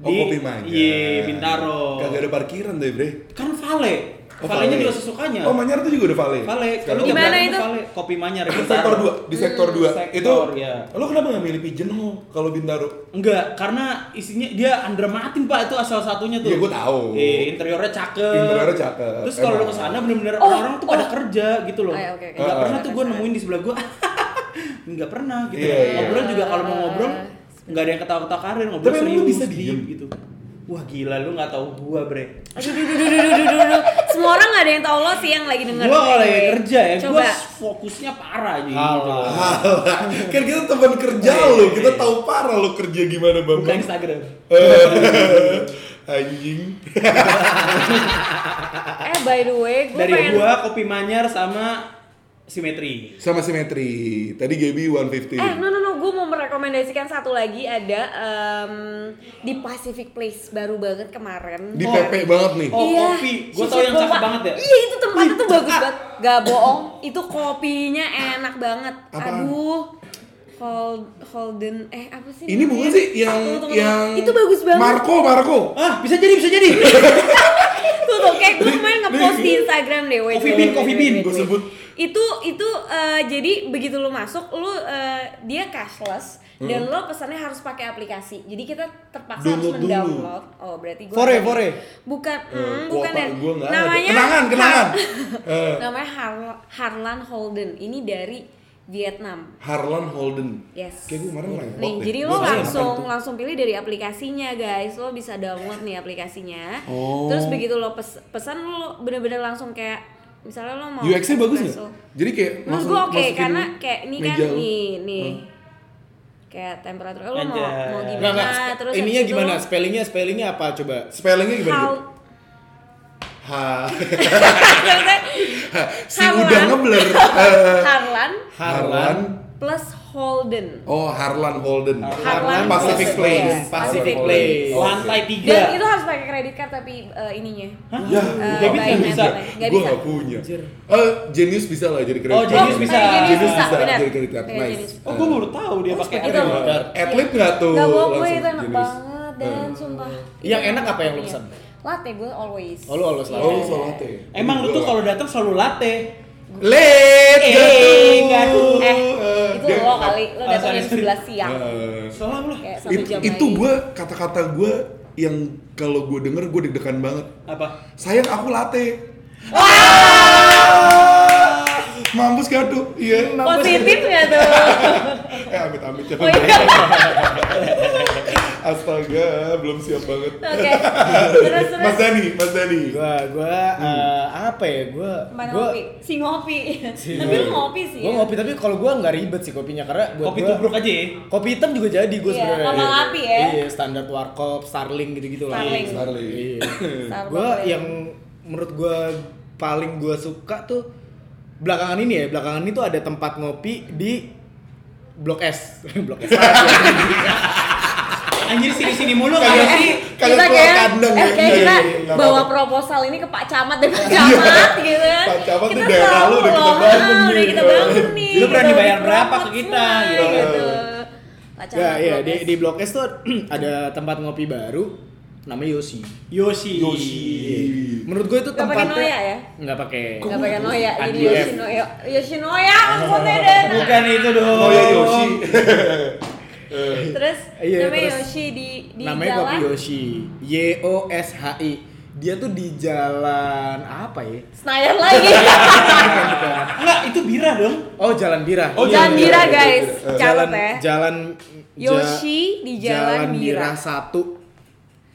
Oh, kopi manja. Iya, Bintaro. Kagak ada parkiran deh, Bre. Kan Vale. Oh, Valenya Vale. juga sesukanya. Oh, Manyar tuh juga udah Vale. Vale. Sekarang kan? Lu Gimana nyebrang itu? ke Vale. Kopi manyar. Di Bintaro. sektor 2, di sektor 2. Sektor, itu ya. lo kenapa nggak milih Pigeonhole kalau Bintaro? Enggak, karena isinya dia undermatin pak itu asal satunya tuh. Iya, gua tahu. Eh, interiornya cakep. Interiornya cakep, Terus kalau lu emang. kesana bener-bener Oh, orang-orang tuh pada oh. kerja gitu loh. Ah, ya, oke, oke. Nggak Ah, pernah ah. tuh gue nemuin di sebelah gua. *laughs* Nggak pernah gitu. Iya, iya. Ngobrol juga kalau mau Ah, ngobrol nggak ada yang ketawa-ketawa karir ngobrol Tapi emang lu serius bisa diem? gitu. Wah gila lu nggak tahu gua bre. Aduh, duh, duh, duh, duh, duh, duh, duh. Semua orang gak ada yang tau lo sih yang lagi denger Gua kalau lagi Anyway, kerja ya, Coba gua fokusnya parah aja gitu. Alah. *laughs* kan kita teman kerja Iya, lo, kita tahu parah lo kerja gimana, Bang. Buka Instagram. Eh. *laughs* Anjing. Eh by the way, gue Dari pengen gua kopi manyar sama simetri. Sama simetri. Tadi Gaby 115. Eh no no no, gue mau merekomendasikan satu lagi ada em, di Pacific Place baru banget kemarin. Di PP banget nih. Oh, iya, kopi. Gua Susu tau yang cakep boba. banget ya? ah. Iya itu tempatnya tuh bagus banget. Gak bohong, itu kopinya enak banget. Apaan? Aduh. Hold, Holden eh apa sih? Ini bukan namanya? sih yang Tunggu, tunggu, yang tunggu. itu bagus banget. Marco, Marco. Ah, bisa jadi, bisa jadi. tuh tuh kayak gue kemarin ngepost di Instagram deh wait, Coffee wait, bean, wait, coffee wait, bean, wait, gua wait. sebut. itu itu eh, jadi begitu lu masuk lu eh, dia cashless dan lo pesannya harus pakai aplikasi jadi kita terpaksa Hmm. Download harus dulu. mendownload oh berarti gue Fore, fore. bukan hmm, Eh, bukan kuota dan gua nggak ada. namanya Kenangan, kenangan. Eh. *laughs* namanya Har- Harlan Holden ini dari Vietnam Harlan Holden. Yes. Kayak gue kemarin lewat Nih, deh. jadi Gua lo tanya langsung apaan tuh. langsung pilih dari aplikasinya, guys. Lo bisa download nih aplikasinya. Oh. Terus begitu lo pes- pesan lo bener-bener langsung kayak misalnya lo mau UX-nya bagus nggak? espresso. Jadi kayak Oh, Menurut langsung gue oke masukin karena kayak ini kan meja lu. nih nih. Kayak temperatur lo mau Anjay. mau gimana Nggak, nggak. Nah, terus Ininya habis itu gimana? lo- Spellingnya, spellingnya apa coba? Spellingnya gimana? Hal Gitu? H Ha, Maksudnya, *laughs* si udah ngeblur. Eh, Harlan Harlan. plus Holden. Oh, Harlan Holden. Harlan Pacific Holden. Place. Yes, Pacific Harlan Place. Holden. Oke. Lantai tiga. Iya. Dan itu harus pakai kredit card tapi eh, ininya. Ya, Eh, Debit bayarnya nggak bisa. apa, nggak Gue bisa. gak punya. Eh, Genius bisa lah jadi kredit Oh, card. Genius bisa. eh, Genius Genius bisa, bisa benar. jadi kredit card. Iya, Genius. Nice. Eh, Oh, gue baru tahu dia pakai seperti Apple itu. gitu. Card. Atlet nggak tuh? Gak mau gue itu langsung enak jenis? banget dan sumpah. Yang enak apa yang lu Iya. pesan? Latte gue always. Eh, Oh, lu always latte. Oh, lu selalu latte. Emang lu tuh kalau datang selalu latte. Late, Eh, gaduh. Eh, itu dia- lo kali, lo Oh, Ah, datang sorry, jam sorry. 11 siang. Eh, Selalu lah. Kayak satu it- jam itu lagi. gue kata-kata gue yang kalau gue denger gue deg-degan banget. Apa? Sayang aku latte. Ah! Mampus gaduh. Iya. Positif gak *laughs* tuh? Eh amit-amit ya. Oh, iya. Astaga, belum siap banget. Oke. Terus Mas terus. Dani, Mas Dani. Gua gua eh, apa ya? Gua Mana Iya. gua ngopi? Si ngopi. Si- Tapi lu ngopi sih. ya? Gua ngopi tapi kalau gua nggak ribet sih kopinya karena buat Kopi gua- tubruk aja ya. Kopi hitam juga jadi gue Iya, sebenarnya. sama ngapi ya. Iya, standar warkop, Starling gitu-gitu lah. Starling. ya. Starling. *laughs* Iya. Starbucks. gue yang menurut gue paling gue suka tuh belakangan ini ya, belakangan itu ada tempat ngopi di Blok S. *laughs* Blok S. Anjir sini-sini mulu Kayak- kagak sih? kalian Eh, kita keluar kayak, kandang eh, ya? kayak Iya, kita iya, iya, nggak bawa apa-apa. Iya. proposal ini ke Pak Camat deh Pak Camat gitu kan Pak Camat kita tuh daerah lu udah kita selalu bangun loh, udah gitu. Iya. kita bangun nih Lu berani gitu, bayar di berapa ke promote kita, semua, gitu. Pak Camat Ya, iya di protes. di Blok S tuh *clears throat* ada tempat ngopi baru namanya Yosi. Yoshi. Yoshi. Menurut gue itu Nggak pakai tempatnya noya ya? nggak pakai. Gak pakai Noya, ini Adios. Yoshinoya Yoshinoya, maksudnya deh Bukan itu dong. Oh ya Yoshi. Terus, Iya, namanya terus Yoshi di, di namanya jalan kopi Yosi. Y O S H I. Dia tuh di jalan apa *laughs* ya? Senayan lagi Enggak, itu bira dong. Oh, Jalan Birah. *laughs* Oh, iya, Jalan iya, Mira iya, guys, iya, iya. catat jalan ya jalan ja- Yoshi di Jalan Mira. Bira satu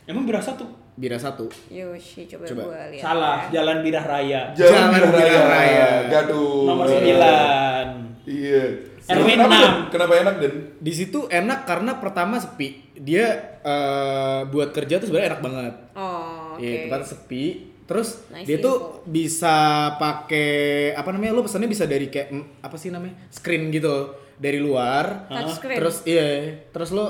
Emang bira satu. Bira satu Yoshi, coba, Coba. gua lihat Salah, ya. Jalan Birah Raya. Jalan Jalan Birah Raya. Birah Raya. Gaduh. Nomor 9. Iya. RW Kenapa, enam. Den? Kenapa enak Den? di situ enak karena pertama sepi dia eh, buat kerja tuh sebenarnya enak banget Oh, oke Iya, tempat sepi terus Nice dia info. tuh bisa pakai apa namanya lo pesannya bisa dari kayak mm, apa sih namanya screen gitu dari luar Touchscreen. terus iya terus lo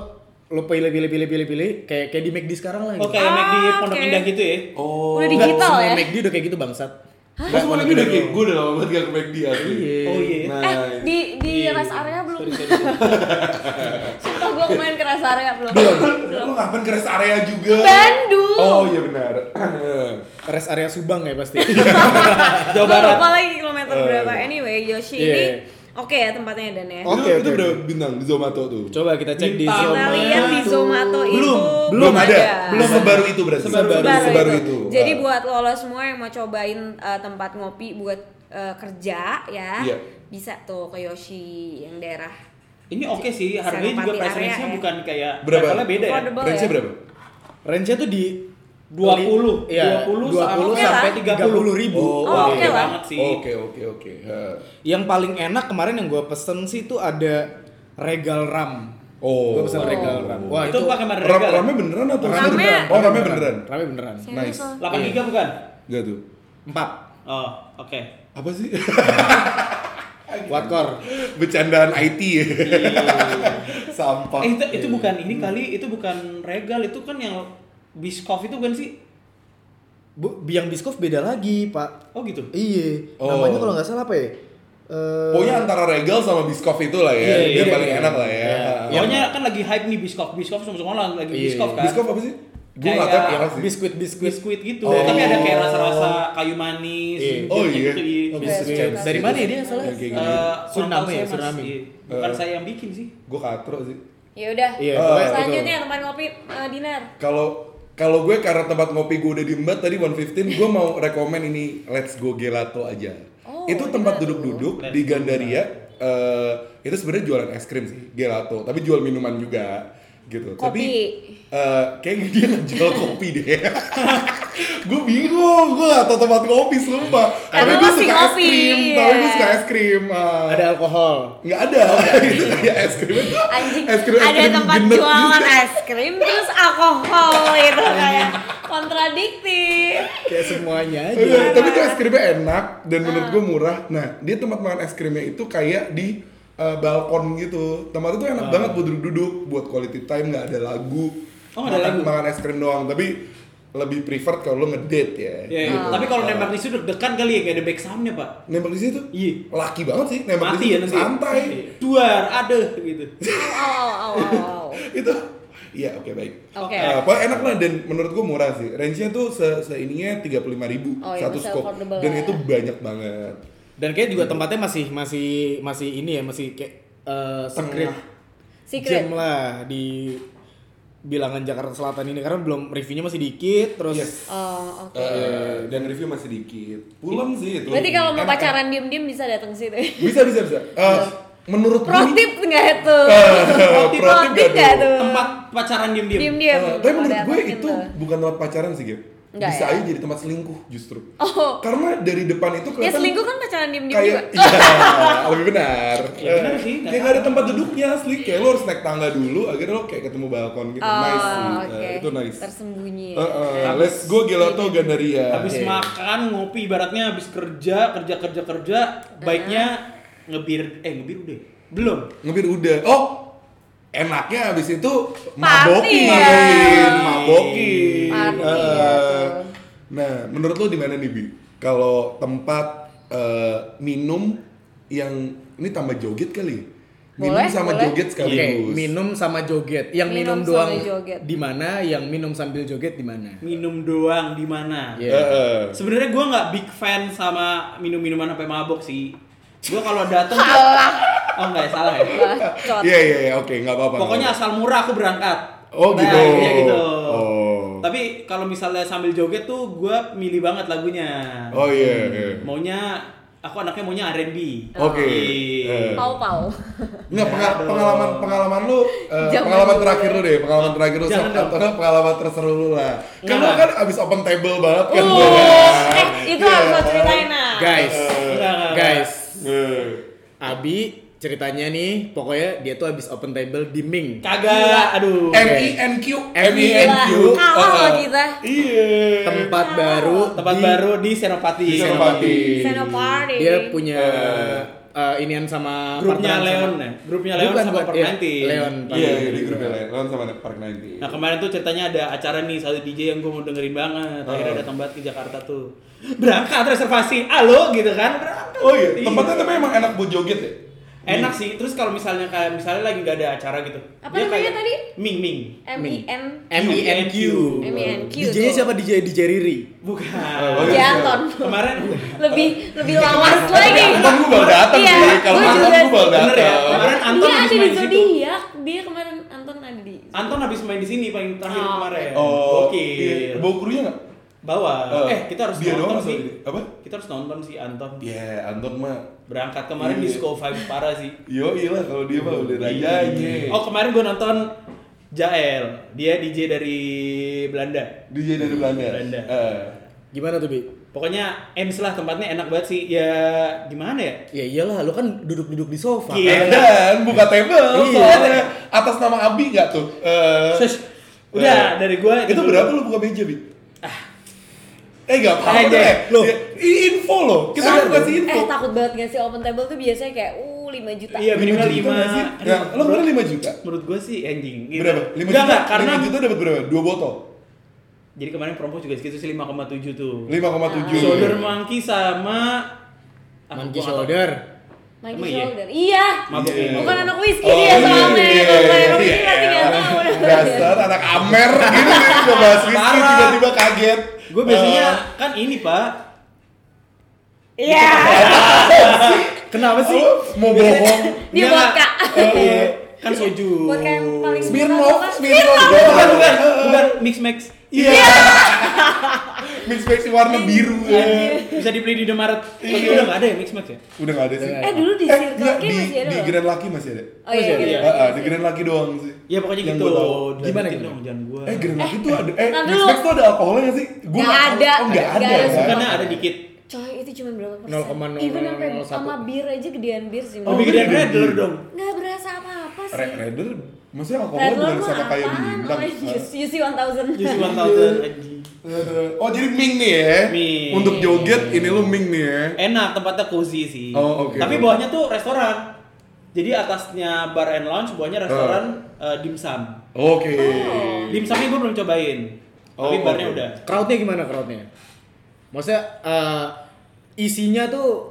lo pilih pilih pilih pilih pilih kayak kayak di McD sekarang lah Oke, gitu. oh, McD Ah, Pondok oke. Indah gitu ya. Oh. Udah Nggak, digital semua ya? McD udah kayak gitu bangsat Hah? Semua lagi udah kayak gue udah lama banget gak ke ya. McD asli. Oh iya. Nah, Eh, di di rest area belum. *laughs* Sumpah gue kemarin ke rest area belum. Lu ngapain ke rest area juga? Bandung. Oh iya benar. *clears throat* Eh. rest area Subang ya pasti Jawa Gua Barat. lupa lagi kilometer berapa. Anyway, Yoshi Iya. ini oke ya tempatnya dan ya. Oke, Oke, itu oke, berapa bintang di Zomato tuh? *laughs* coba kita cek di Bintang. Kita Zomato. lihat di Zomato itu Belum, Belum ada. Belum Belum sebaru itu berarti. Sebaru Baru Baru Sebaru itu. Jadi Ah. buat lo, lo semua yang mau cobain eh, tempat ngopi buat eh, kerja ya, Iya. bisa tuh ke Yoshi yang daerah. Ini oke sih, harganya Senopati juga price area range-nya ya. bukan kayak Berapa? levelnya beda ya. Affordable Range-nya ya. berapa? range tuh di 20, ya, 20 20, sama- Oke sampai lah. 30 ribu. Oh, Oh, oke gede lah. banget sih. Oke, oke, oke. Ah. Yang paling enak kemarin yang gue pesen sih tuh ada regal ram. Oh. Gue pesen regal ram. Wah Itu itu, pakai ya? rame mereka. Ram ramnya beneran atau? Ramnya. ya? beneran? Oh, ramnya beneran. Rame beneran. Serius Nice. lo. Iya. 83 bukan? Gak tuh. Empat. Oh, oke. Apa sih? Watkor. *laughs* Bercandaan IT ya. *laughs* Sampah. Eh, itu, itu iya, bukan ini kali, itu bukan regal, itu kan yang biskof itu bukan sih? Bu, yang biskov beda lagi pak. Oh gitu. Iya. Oh. Namanya kalau nggak salah apa ya? Eh, Pokoknya antara regal sama biskof itu lah ya. Iya, Dia iya, paling iya. enak lah ya. Iya. Ah. Pokoknya kan lagi hype nih biskof, biskof semua semua orang lagi Iya. biskof kan. Biskof apa sih? Gue Kayak nggak tahu apa yang sih. biskuit biskuit. Biskuit gitu, Oh. tapi ada kayak rasa-rasa kayu manis. Iya. gitu, Oh iya. gitu, iya. Oh, Biskuit. biskuit. Dari mana ya dia salah? Yang Eh, kayak gini. kurang tahu Suriname saya, ya, Mas. Suriname. Iya. Bukan Eh. saya yang bikin sih. Gue katro sih. Ya udah. Iya. Oh, pokoknya Selanjutnya itu. tempat ngopi eh, dinner. Kalau kalau gue karena tempat ngopi gue udah diembat tadi 115, gue mau rekomen ini Let's Go Gelato aja. Oh, itu tempat gelato. duduk-duduk Let's di Go Gandaria. eh, itu sebenarnya jualan es krim sih, gelato. Tapi jual minuman juga. gitu. Kopi. Tapi eh, kayaknya dia nggak *laughs* jual kopi deh. *laughs* gue bingung, gue gak tau tempat kopi sumpah. Tapi Emang gue masih suka es kopi, krim, tapi gue iya. suka es krim. eh, Ada alkohol. nggak ada, *laughs* itu kayak es krim. Anjing, Es krim- es ada krim tempat gendut jualan gitu. es krim terus alkohol itu kayak kontradiktif. Kayak semuanya aja. Iya, tapi tuh es krimnya enak dan menurut gue murah. Nah, dia tempat makan es krimnya itu kayak di eh, balkon gitu. Tempatnya tuh Ah. enak banget buat duduk-duduk, buat quality time, nggak ada lagu. Oh, nggak ada Makan- lagu. Makan es krim doang, tapi lebih preferred kalau lo ngedate ya. Iya, iya. Tapi kalau nembak di situ deg-degan kali ya, kayak ada back sound-nya, Pak. Nembak di situ? Iya. Laki banget sih, nembak Mati di ya situ. nanti. Santai. Duar, ada gitu. Oh, oh, oh, oh. itu Iya, oke baik. Oke. Eh, pokoknya enak lah dan menurut gue murah sih. Range-nya tuh se seininya 35.000 Oh, iya, satu masih scoop. affordable Dan lah itu ya. banyak banget. Dan kayak juga tempatnya masih masih masih ini ya, masih kayak eh secret Secret. gym lah di bilangan Jakarta Selatan ini karena belum reviewnya masih dikit terus Yes. Oh, oke. Eh, dan review masih dikit. Pulang sih itu. Berarti kalau mau Enak, pacaran diem-diem bisa datang ke situ. bisa bisa bisa Eh, menurut gue Pro tip nggak itu? Eh, pro tip tip nggak nggak tuh? Tempat pacaran diem-diem. Diem-diem. eh, tapi menurut Ada gue apa itu gitu. bukan tempat pacaran sih Gap Nggak bisa ya? aja jadi tempat selingkuh justru Oh, karena dari depan itu ya kelihatan selingkuh kan pacaran diem-diem juga. kayak iya *laughs* lebih benar Ya, benar Eh, sih, nggak kayak gak ada salah. tempat duduknya asli kayak lo harus naik tangga dulu akhirnya lo kayak ketemu balkon gitu Oh, nice sih. Eh, oke. itu nice Tersembunyi. Eh, eh, let's go gelato gandaria Habis Oke. makan, ngopi, ibaratnya habis kerja, kerja-kerja-kerja, baiknya ngebir, eh ngebir udah ya? Belum. ngebir udah oh enaknya abis itu Party mabokin ya. mabokin Party Eh, ya tuh. nah menurut lo di mana nih bi kalau tempat eh, minum yang ini tambah joget kali ya? minum Boleh, sama boleh. joget Iya, Oke, sekaligus minum sama joget. Yang minum, Minum doang sambil joget. di mana? Yang minum sambil joget di mana? Minum doang di mana? Iya. Eh, eh. Sebenarnya gue nggak big fan sama minum-minuman sampai mabok sih. Gue kalau datang tuh- oh nggak ya, salah ya. Bacot. iya iya iya oke nggak apa-apa Pokoknya nggak asal murah aku berangkat. apa-apa. oh Nah, gitu iya gitu. oh Tapi kalau misalnya sambil joget tuh gue milih banget lagunya. oh iya iya. Maunya aku anaknya maunya R&B. oke Iya. Eh. Pau-pau. Nggak, penga- pengalaman pengalaman lu eh, Jangan pengalaman dong. terakhir lu deh, pengalaman terakhir lu Jangan Sob, dong. atau nggak pengalaman terseru lu lah. Kan lu Nggak. kan abis open table banget kan. Uh, gua. eh, itu harus gua ceritain nah. Guys, Enggak, enggak, enggak. guys, Eh, Abi ceritanya nih, pokoknya dia tuh habis open table di Ming. Kagak, aduh. M I N Q M I N Gila, Q. kalah Eh, loh eh. kita. Iya. Tempat baru, Tempat di- baru di Senopati. Di Senopati. Iya, Senopati. Dia punya Eh. eh, inian sama Grupnya partneran Leon sama- ya? Grupnya Leon Bukan, sama bukan, Park iya, 90. Leon. Park Iya, 90. di grup yang lain. Lawan sama Park 90. Nah kemarin tuh ceritanya ada acara nih satu DJ yang gue mau dengerin banget. Akhirnya Heeh. datang banget ke Jakarta tuh. Berangkat reservasi, halo gitu kan? Berangkat. Oh iya, Iya. tempatnya tapi emang enak buat joget ya. Enak sih. Terus kalau misalnya kayak misalnya lagi nggak ada acara gitu. Apa namanya tadi? Ming Ming. M I N M-I-N-Q. M-I-N-Q DJ-nya tuh. siapa? DJ DJ Riri. Bukan. Oh, iya. *laughs* Janton. Kemarin Lebih lebih lawas lagi. Kan gue baru datang Iya, sih. Kalau gua malam juga gue baru sih. bener ya. datang. Kemarin Anton dia habis ada di main di situ. zodiak. Dia kemarin Anton ada di. Anton habis main di sini paling terakhir Oh. kemarin. Oh, Oke. iya. Bawa krunya nggak? Bawa. Eh, Eh kita harus dia nonton doang sih. soalnya. Apa? Kita harus nonton sih Anton. Iya, Anton mah Berangkat kemarin Iya. disco vibe parah sih. Yo lah kalau dia mah udah rajanya. Oh kemarin gue nonton Jael, dia DJ dari Belanda. DJ dari Belanda. Belanda. Eh. Gimana tuh, Bi? Pokoknya Ems lah tempatnya enak banget sih. Ya gimana ya? Ya iyalah, lu kan duduk-duduk di sofa. Iya. Eh, Dan buka table Iya. soalnya atas nama Abi nggak tuh? Eh, Sus, udah eh, dari gue itu berapa lu buka meja bi? Ah. Eh nggak apa-apa Eh, deh. loh. Ini info loh. Kita Sadar harus kasih Gitu. info. Ya, Eh takut banget gak sih open table tuh biasanya kayak uh 5 juta. Iya minimal juta lima. nggak sih? Aduh, Ya, lo kemarin lima juta. Menurut gue sih anjing. gitu. Berapa? Nggak, Lima juta. nggak, karena Lima juta dapat berapa? Dua botol. jadi kemarin promo juga segitu sih 5,7 tuh. Lima koma tujuh. Ah. Shoulder monkey sama Ah, gua nggak Monkey tahu. shoulder. Main Emang di iya? shoulder. Iya. Mabuk Iya. minum. Bukan anak whisky dia soalnya. Kalau kayak anak whisky pasti gak tahu. *laughs* Dasar anak Amer gitu kan udah bahas whisky Parah. tiba-tiba kaget. Eh, Gue biasanya Oh. kan ini pak. Iya. Kenapa sih? Eh, mau bohong. Dia Nggak, vodka. *laughs* nggak. Eh, Kan soju. Buat kayak paling Smirnoff, murah, Smirnoff. Bukan, bukan, Oh, bukan mix max. Iya. *laughs* Mix Max warna Iya. biru. Bisa dibeli di Indomaret. Iya. Tapi udah nggak ada ya mix max ya? Udah nggak ada sih. Eh, dulu di Eh, Circle nggak, K di, masih ada di loh. Grand Laki masih ada. Oh iya, Masih ada, iya. iya. Ah, ah, di Grand Laki doang sih. Ya pokoknya Yang gitu. gua tahu. Jangan Gimana, gitu gimana? dong, jangan gua. Eh, Grand Laki tuh ada. Eh, ntar Mix dulu. Max tuh ada alkoholnya nggak sih? Gua Nggak nggak tahu. ada. Oh, nggak ada. Nggak ada ya? semua. Karena kan ada dikit. Coy, itu cuma berapa persen? 0,001. Even sampai sama bir aja gedean bir sih. Oh, Mbak. bikin dia redler dong. Nggak berasa apa-apa sih. Red Redder, maksudnya alkoholnya Red Bull bukan mah sama kayak apaan? bintang. Oh, UC UC 1000. Just 1000 anjing. Eh, Oh jadi Ming nih ya? Ming. Eh. Untuk joget ini lu Ming nih ya? Enak, tempatnya cozy sih. Oh, oke. Tapi bawahnya tuh restoran. Jadi atasnya bar and lounge, bawahnya restoran Oh. eh, dimsum. Oke. Oh. Dimsumnya gue belum cobain. Tapi Oh, barnya oke. udah. Crowdnya gimana crowdnya? Maksudnya eh, isinya tuh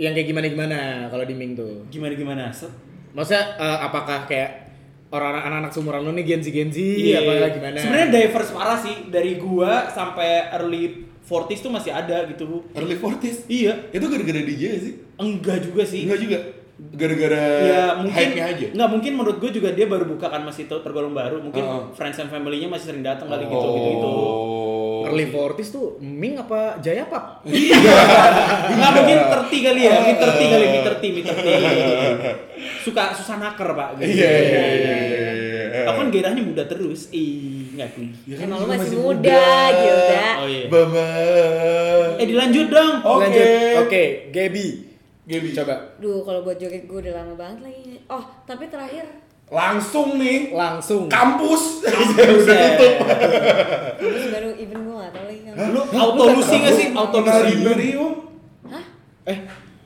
yang kayak gimana-gimana kalau di Ming tuh? Gimana gimana? Set. Maksudnya eh, apakah kayak orang-orang anak-anak seumuran lo nih Gen Z Gen Z Iya, apa gimana? Iya. Sebenarnya diverse parah sih dari gua sampai early 40s tuh masih ada gitu, Bu. Early 40s. Iya, Itu gara-gara DJ ya sih? enggak juga sih. Enggak juga. Gara-gara Ya mungkin hype-nya aja. Enggak mungkin menurut gue juga dia baru buka kan masih ter- tergolong baru. Mungkin Heeh. Oh. friends and family-nya masih sering datang kali gitu gitu gitu. early 40s tuh Ming apa Jaya Pap? Enggak mungkin terti kali ya, mungkin terti kali, mungkin terti, mungkin terti. Suka susah naker, Pak. gitu. Iya iya iya iya, iya. Aku kan gerahnya muda terus. Ih, enggak nih. Ya kan Emang lu lu masih muda, Gilda. Oh iya. Bama. Eh dilanjut dong. *laughs* Oke. Lanjut. Oke, Gaby. Gaby. Coba *laughs* Duh, kalau buat joget gue udah lama banget lagi. Oh, tapi terakhir Langsung nih. langsung. Kampus. Udah tutup. terus baru even gue nggak tahu lagi. kan. Lu Auto lusi nggak sih? Auto menari lusi. imperium. Hah? Eh,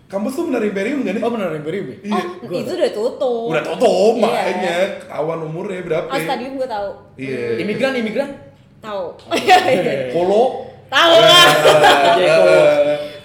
Kampus tuh menari imperium gak nih? oh beneran Gaby? Oh, Gua itu udah Oh. tutup. Iya, Udah tutup Iya. makanya ketahuan umurnya berapa? ya? Oh, stadium gue tahu. Hmm, Iya. Imigran, imigran. Tahu. *laughs* Iya. Kolo. Tahu lah. Jeko.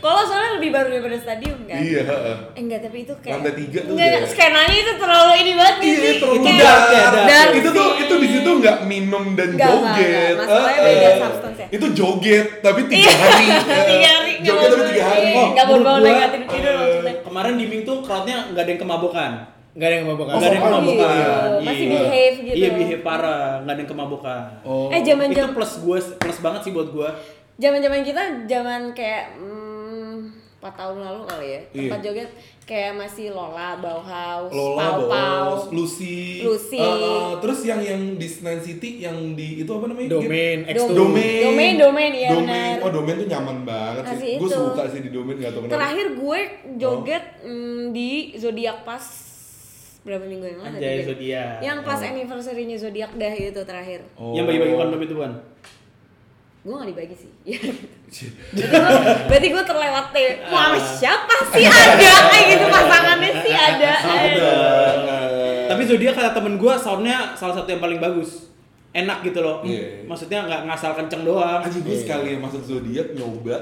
Kalau soalnya lebih baru daripada stadium kan. *laughs* Iya. heeh. Eh, enggak, tapi itu kayak Lantai tiga tuh Enggak, udah. skenanya itu terlalu ini banget nih Iya, sih. terlalu Itu Kayak- dark ya, dark. dark itu tuh sih. itu di situ nggak minum dan Nggak, nggak, joget. nggak. Masalahnya Eh, beda eh. substance ya. Itu joget tapi tiga Iya, hari. *laughs* tiga hari nggak Joget tapi bangun, tiga hari. iya, Oh, nggak bangun menurut bangun lagi gua, nggak tidur tidur maksudnya Kemarin di Ming tuh crowd-nya nggak ada yang kemabukan. Enggak ada yang mabok. Oh, Nggak ada yang sopan kemabukan. gitu. Masih Iya. behave gitu. Iya, behave parah, nggak ada yang kemabukan. Oh. eh zaman Itu zaman plus gue plus banget sih buat gue. zaman zaman kita zaman kayak hmm, 4 tahun lalu kali ya tempat Iya. joget kayak masih Lola Bauhaus Lola Pau Pau Bos, Lucy, Lucy. Eh, eh, terus yang yang di Senayan City yang di itu apa namanya? Domain, X2. Domain. Domain. Domain, domain, iya Domain. benar. Oh, domain tuh nyaman banget Kasih sih. Gue itu. suka sih di domain nggak tahu kenapa. terakhir gue joget Oh. hmm, di Zodiac pas berapa minggu yang lalu Anjay, tadi? ya? Zodiac. yang pas Oh. anniversary-nya Zodiac dah itu terakhir Oh. Yang bagi-bagi kondom itu kan. gue gak dibagi *laughs* sih Ya. berarti gue berarti gue terlewat deh Ah. wah siapa sih ada kayak gitu pasangannya sih ada Ada. Tapi Zodiac kata temen gue soundnya salah satu yang paling bagus. Enak gitu loh. Iya. Maksudnya nggak ngasal kenceng doang. Anjing gue sekali yang masuk zodiak nyoba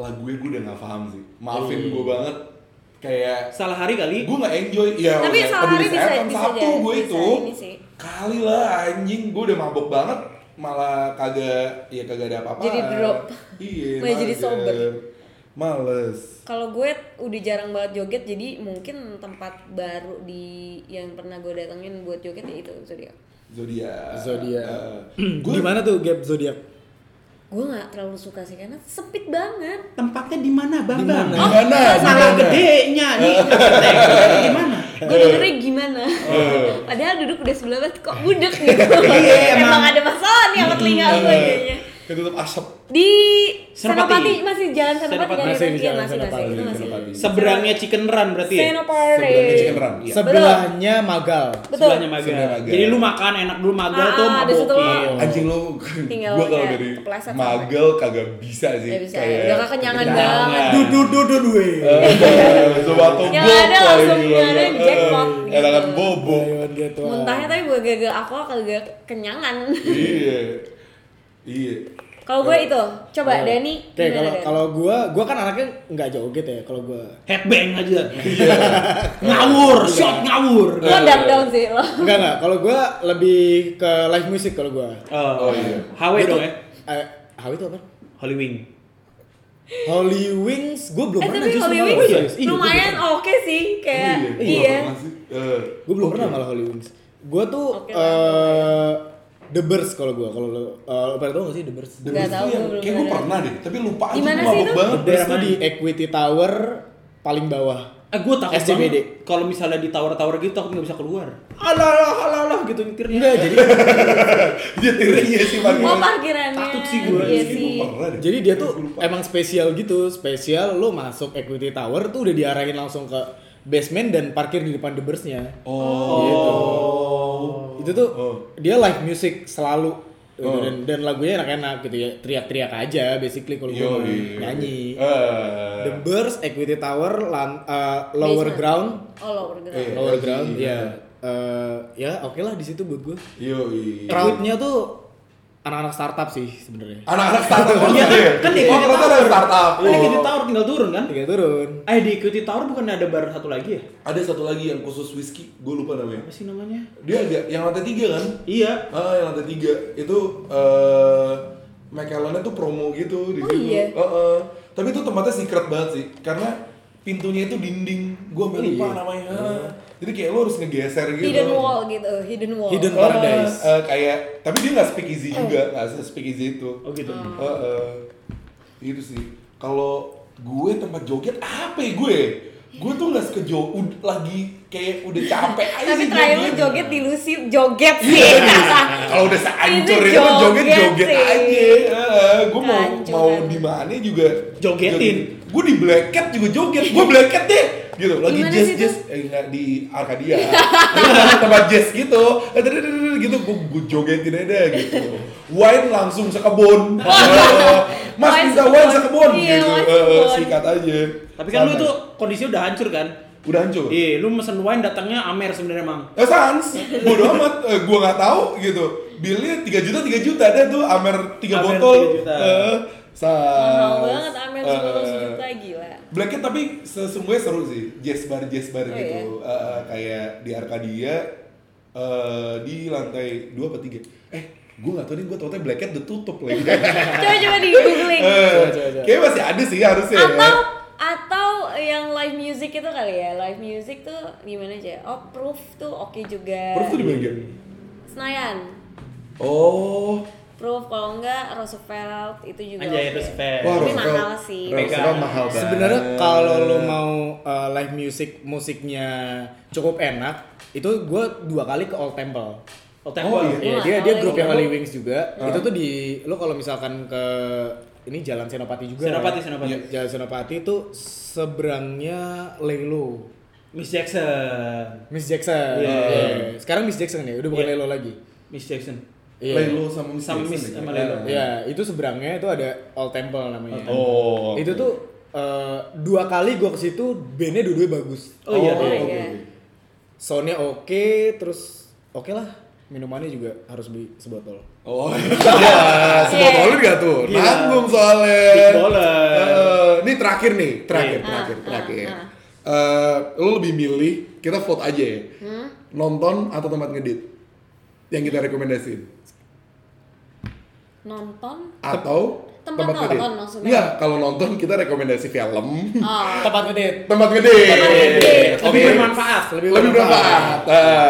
lagunya gue udah nggak paham sih. Maafin gue banget. Kayak Salah hari kali. gue nggak enjoy. Ya, Tapi udah, salah hari peduli bisa- setan bisa Sabtu jadi, gue bisa itu ini sih. kali lah anjing gue udah mabok banget malah kagak ya kagak ada apa-apa. Jadi drop. Iya. *laughs* Malah jadi mager. sober. Males. kalau gue udah jarang banget joget jadi mungkin tempat baru di yang pernah gue datengin buat joget ya itu zodiak Zodiak. Zodiak. Eh, *clears throat* gue Gimana tuh gap zodiak? gue nggak terlalu suka sih karena sempit banget Tempatnya di mana, Bang? Bang? Di mana? Oh, Di Salah mana? gedenya *laughs* nih. Tempatnya Di mana? gue dengernya gimana padahal duduk udah sebelah banget kok budek gitu Eh. Iya, emang. Iya. emang ada masalah nih sama telinga gue kayaknya Ketutup asap. di Senopati. Senopati masih jalan Senopati Senopati. kan? Masih di Iya, jalan masih masih Senopati, itu masih Senopati. Seberangnya chicken run berarti ya? Senopati Seberangnya chicken run. Iya. Sebelahnya Magal. betul Sebelahnya magang. Sebelahnya magang. Jadi lu makan enak dulu magang Ah, tuh di situ mabokin. lo- Anjing lo, Tinggal gue kalau kayak dari kepleset sampai. magel kagak bisa sih. Gak bisa ya? Iya. Kayak Nah, udah kekenyangan *laughs* kekenyangan. banget Du du du du duwe. Sobat Bobo Yang ada langsung, yang ada jackpot gitu. Elangan bobo. Lewat gitu. muntahnya tapi gue gagal aku kagak kenyangan Iya. Iya. kalau gue itu coba Dani gimana, Oke, kalau Dan? kalau gua gua kan anaknya nggak joget ya kalau gua. Headbang aja. *laughs* ngawur, shot ngawur. lo down down sih lo Enggak enggak, kalau gua lebih ke live music kalau gua. Oh, iya. HW Gua dong tuh- ya. Eh, Hawi itu apa? Holy Wing. Holy Wings gue belum eh pernah tapi justru Holy malah. Wings Serius, iya, gua belum lumayan pernah. oke sih kayak Oh, gua iya. nggak pernah sih. Eh, gue belum pernah malah Holy Wings gue tuh Oke lah, eh, The Birds kalau gue kalau lo eh, lo pada tau gak sih The Birds? The Nggak Beast tuh tahu, yang- gua belum ya, kayak gue pernah. pernah deh, tapi lupa aja, Gimana gua sih mabok itu? banget. *laughs* The Birds tuh Daerah di Equity Tower paling bawah Eh, gue takut SCBD. banget kalau misalnya di tower-tower gitu aku nggak bisa keluar. Alah, alah, alah, alah gitu nyetirnya. enggak jadi Dia tirnya iya sih pagi. Oh parkirannya. Takut sih gua. Iya Gue sih. pernah deh. jadi dia tuh Gua lupa. emang spesial gitu spesial lo masuk Equity Tower tuh udah diarahin langsung ke basement dan parkir di depan The Birds-nya Oh. itu tuh Oh. dia live music selalu gitu, Oh. dan, dan lagunya enak-enak gitu ya teriak-teriak aja basically kalau gue Yoi. nyanyi Eh. The Birds, Equity Tower, lan- eh, Lower Basement. Ground, Oh lower ground. Iya, Lower LG, Ground, iya. ya, Eh, ya oke lah di situ buat gue. Yoi. Crowdnya tuh anak-anak startup sih sebenarnya. Anak-anak startup kan Iya, kan di Oh, Equity ternyata Tower. ada startup. Oh. Kan di Equity Tower tinggal turun kan? Tiga turun. Eh di Equity Tower bukan ada bar satu lagi ya? Ada satu lagi yang khusus whisky, gue lupa namanya. Apa sih namanya? Dia agak yang lantai tiga kan? Iya. Ah, yang lantai tiga itu eh McAllennya tuh promo gitu di Oh, situ. iya? Eh, eh. Tapi itu tempatnya secret banget sih, karena pintunya itu dinding. Gue sampai lupa namanya. Ah. Jadi kayak lo harus ngegeser gitu. Hidden wall gitu, hidden wall. Hidden Ah, Paradise. eh, kayak, tapi dia nggak speakeasy juga, nggak se- speakeasy itu. Oh gitu. Hmm. Eh, eh. Itu sih. Kalau gue tempat joget apa ya gue? Gue tuh nggak suka jo- ud- lagi kayak udah capek aja Tapi sih terakhir lu joget di Lucy joget sih. iya. *laughs* Nah, kalau udah seancur Itu itu joget joget sih. aja gue mau Hancur, mau hancur. di mana juga Jogetin. gue di Black Cat juga joget gue Black Cat deh gitu lagi Gimana jazz sih jazz eh, nggak, di Arkadia tempat jazz gitu Eh, dadadadadad gitu gue gue jogetin aja gitu wine langsung *laughs* sekebon Eh, mas Wine minta sekebon. wine sekebon Iya, gitu wine Eh, sekebon. sikat aja Tapi kan lu Santai. itu kondisinya udah hancur kan? udah hancur Iya, lu mesen wine datangnya Amer sebenarnya, Mang. Eh sans, bodo amat, Eh, gua nggak tahu gitu. Bilnya 3 juta 3 juta ada tuh Amer 3 Amer botol. 3 juta. Eh, sans. Mahal banget Amel Eh, sepuluh juta gila. Blackhead tapi sesungguhnya seru sih, jazz bar jazz bar Oh, gitu. Eh, eh, kayak di Arkadia eh, di lantai 2 apa 3. Eh, gua nggak tahu nih gua tahu Blackhead udah tutup *laughs* lagi. Eh, Coba coba di googling. Coba, coba, coba. kayaknya masih ada sih harusnya. ya. Atau atau yang live music itu kali ya live music tuh gimana aja oh proof tuh oke juga Proof tuh di bagian. Senayan Oh, proof kalau enggak Roosevelt itu juga Anjay, oke. respect. Wah, Roosevelt- Tapi mahal sih. Roosevelt mahal banget. Sebenarnya kalau lo mau eh, live music musiknya cukup enak, itu gue dua kali ke Old Temple. Old Oh, Temple. iya. Iya, Wah, dia dia Holy grup yang Wings. Holy Wings juga. Ah. Itu tuh di lo kalau misalkan ke ini Jalan Senopati juga. Senopati, ya? Senopati. Iya, Jalan Senopati itu seberangnya Lelo. Miss Jackson. Miss Jackson. Iya. Iya. Sekarang Miss Jackson ya, udah bukan Iya. Lelo lagi. Miss Jackson. Iya. Lelo sama Miss Sama Jackson Miss ya? sama Lelo. Eh, Iya, itu seberangnya itu ada Old Temple namanya. Oh. Itu tuh eh, dua kali gua ke situ, bandnya dua-dua bagus. Oh iya, Oh, iya. iya. Soundnya oke, terus oke lah. Minumannya juga harus beli sebotol. Oh iya, sebotolin gak tuh? Gila. Nanggung soalnya. Big baller. Eh, ini terakhir nih, terakhir, Iya. terakhir, Ah, ah, terakhir. ah. Eh, lo lebih milih kita vote aja ya. Hmm? Nonton atau tempat ngedit yang kita rekomendasiin nonton atau Tempat nonton maksudnya? Enggak, kalau nonton kita rekomendasi film. *laughs* oh Tempat ngedit. Tempat ngedit. Tempat ngedit. Oke. Lebih bermanfaat. Lebih Lebih bermanfaat.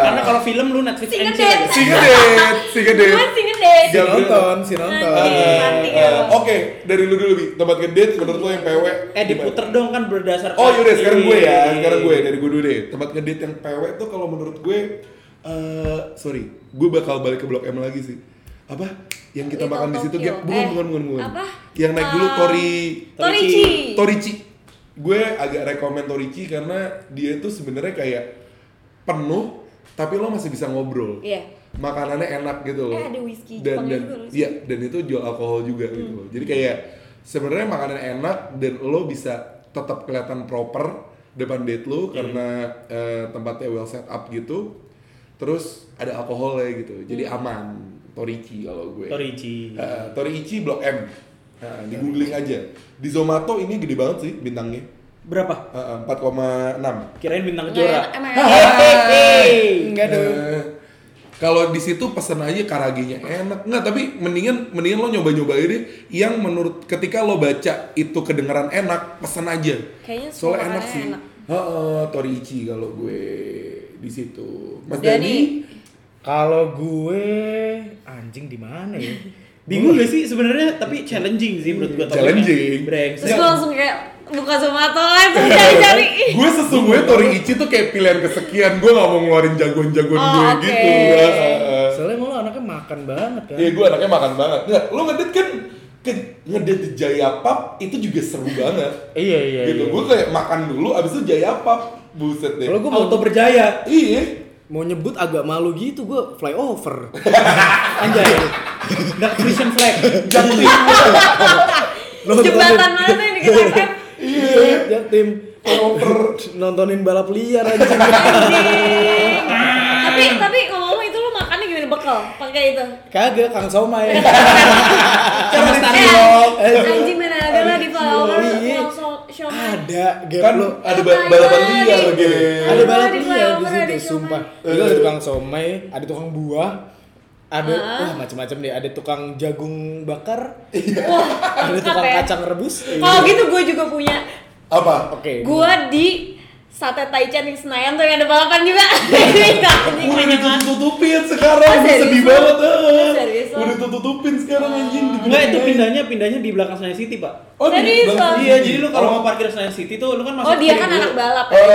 Karena kalau film lu Netflix Singkat and chill deh. aja. si ngedit, si ngedit. gue sih gede Si nonton, si Nanti, nonton. Iya. nanti Eh, ya, Bang. Oke, dari lu dulu bi. Tempat ngedit menurut lu yang PW? Eh diputer dong kan berdasarkan Oh yaudah sekarang gue ya, Iya. sekarang gue dari gue dulu deh. Tempat ngedit yang PW tuh kalau menurut gue, eh sorry, gue bakal balik ke Blok M lagi sih. Apa? Yang kita Little makan di situ? Iya, Tokyo. Gap? Bukan, Eh, bukan, bukan, bukan. apa? Yang naik dulu Eh, Tori. Torici Torici. Gue agak rekomen Torici karena dia tuh sebenarnya kayak penuh, tapi lo masih bisa ngobrol. Iya. Makanannya enak gitu loh. Eh, ada whisky dan, Jepangnya dan, juga loh. Hmm. Iya, dan itu jual alkohol juga gitu loh. Jadi kayak sebenarnya makanan enak dan lo bisa tetap kelihatan proper depan date Hmm. lo karena eh, tempatnya well set up gitu. Terus ada alkoholnya gitu. Jadi Hmm. aman. Torici kalau gue. Torici. Eh, Toriichi Blok M. Nah, di googling aja. Di Zomato ini gede banget sih bintangnya. Berapa? Eh, eh, 4,6. Kirain bintang Nggak Jora. enak, emang enak. Hehehe. Enggak dong. Eh, Kalau di situ pesen aja karaginya enak. Nggak, tapi mendingan mendingan lo nyoba-nyoba ini yang menurut ketika lo baca itu kedengeran enak, pesen aja. Kayaknya semua Soalnya enak makanannya sih. enak. Heeh, Toriichi kalau gue di situ. Mas Dani. Dani, Kalau gue anjing di mana ya? Bingung gak sih sebenarnya tapi challenging sih menurut gue Challenging. Terus gue langsung kayak buka Zomato langsung Iya, cari-cari. gue sesungguhnya Toriichi tuh kayak pilihan kesekian. Gue nggak mau ngeluarin jagoan-jagoan Oh, gue oke. gitu. Heeh. Soalnya emang lo anaknya makan banget kan. Iya gue anaknya makan banget. Nggak, lo ngedit kan ke ngedit di Jaya Pub itu juga seru banget. Iya iya. gitu. iya. Gue kayak makan dulu abis itu Jaya Pub. Buset deh. Kalau gue mau Auto berjaya. Iya. mau nyebut agak malu gitu gue flyover. Anjay. Dark Christian flag. Lo Jembatan mana tuh yang dikit *laughs* FM? Iya, jatim. Flyover nontonin balap liar aja. Anjing. tapi tapi ngomong-ngomong itu lo makannya gimana bekal? Pakai itu. *laughs* Kagak Kang Somai. Iya. Cara Eh, ditiup. Anjing mana ada lah di flyover Iya. langsung showman. Ada Iya, gap Kan Iya. lo. ada ba- balapan liar Ada lagi. Ada Ada balap di liar flyover, ada di somai. situ, sumpah. Itu Eh. ada tukang somai, ada tukang buah, ada Ah. wah macam-macam deh. Ada tukang jagung bakar, Iya. Wah, ada lengkap tukang ya. kacang rebus. Kalau gitu gue juga punya. Apa? Oke. Gue di sate Taichan yang Senayan tuh yang ada balapan juga. Itu Udah anjing banyak banget. ditutup-tutupin sekarang, Ah, gue sedih iya, serius? banget ah. Serius? Oh. Udah ditutup-tutupin sekarang anjing Enggak itu pindahnya pindahnya di belakang Senayan City, Pak. Oh, di Serius? belakang. Iya, jadi lu kalau mau parkir Senayan City tuh lu kan masuk Oh dia kiri kan dulu. anak balap. ya? Oh,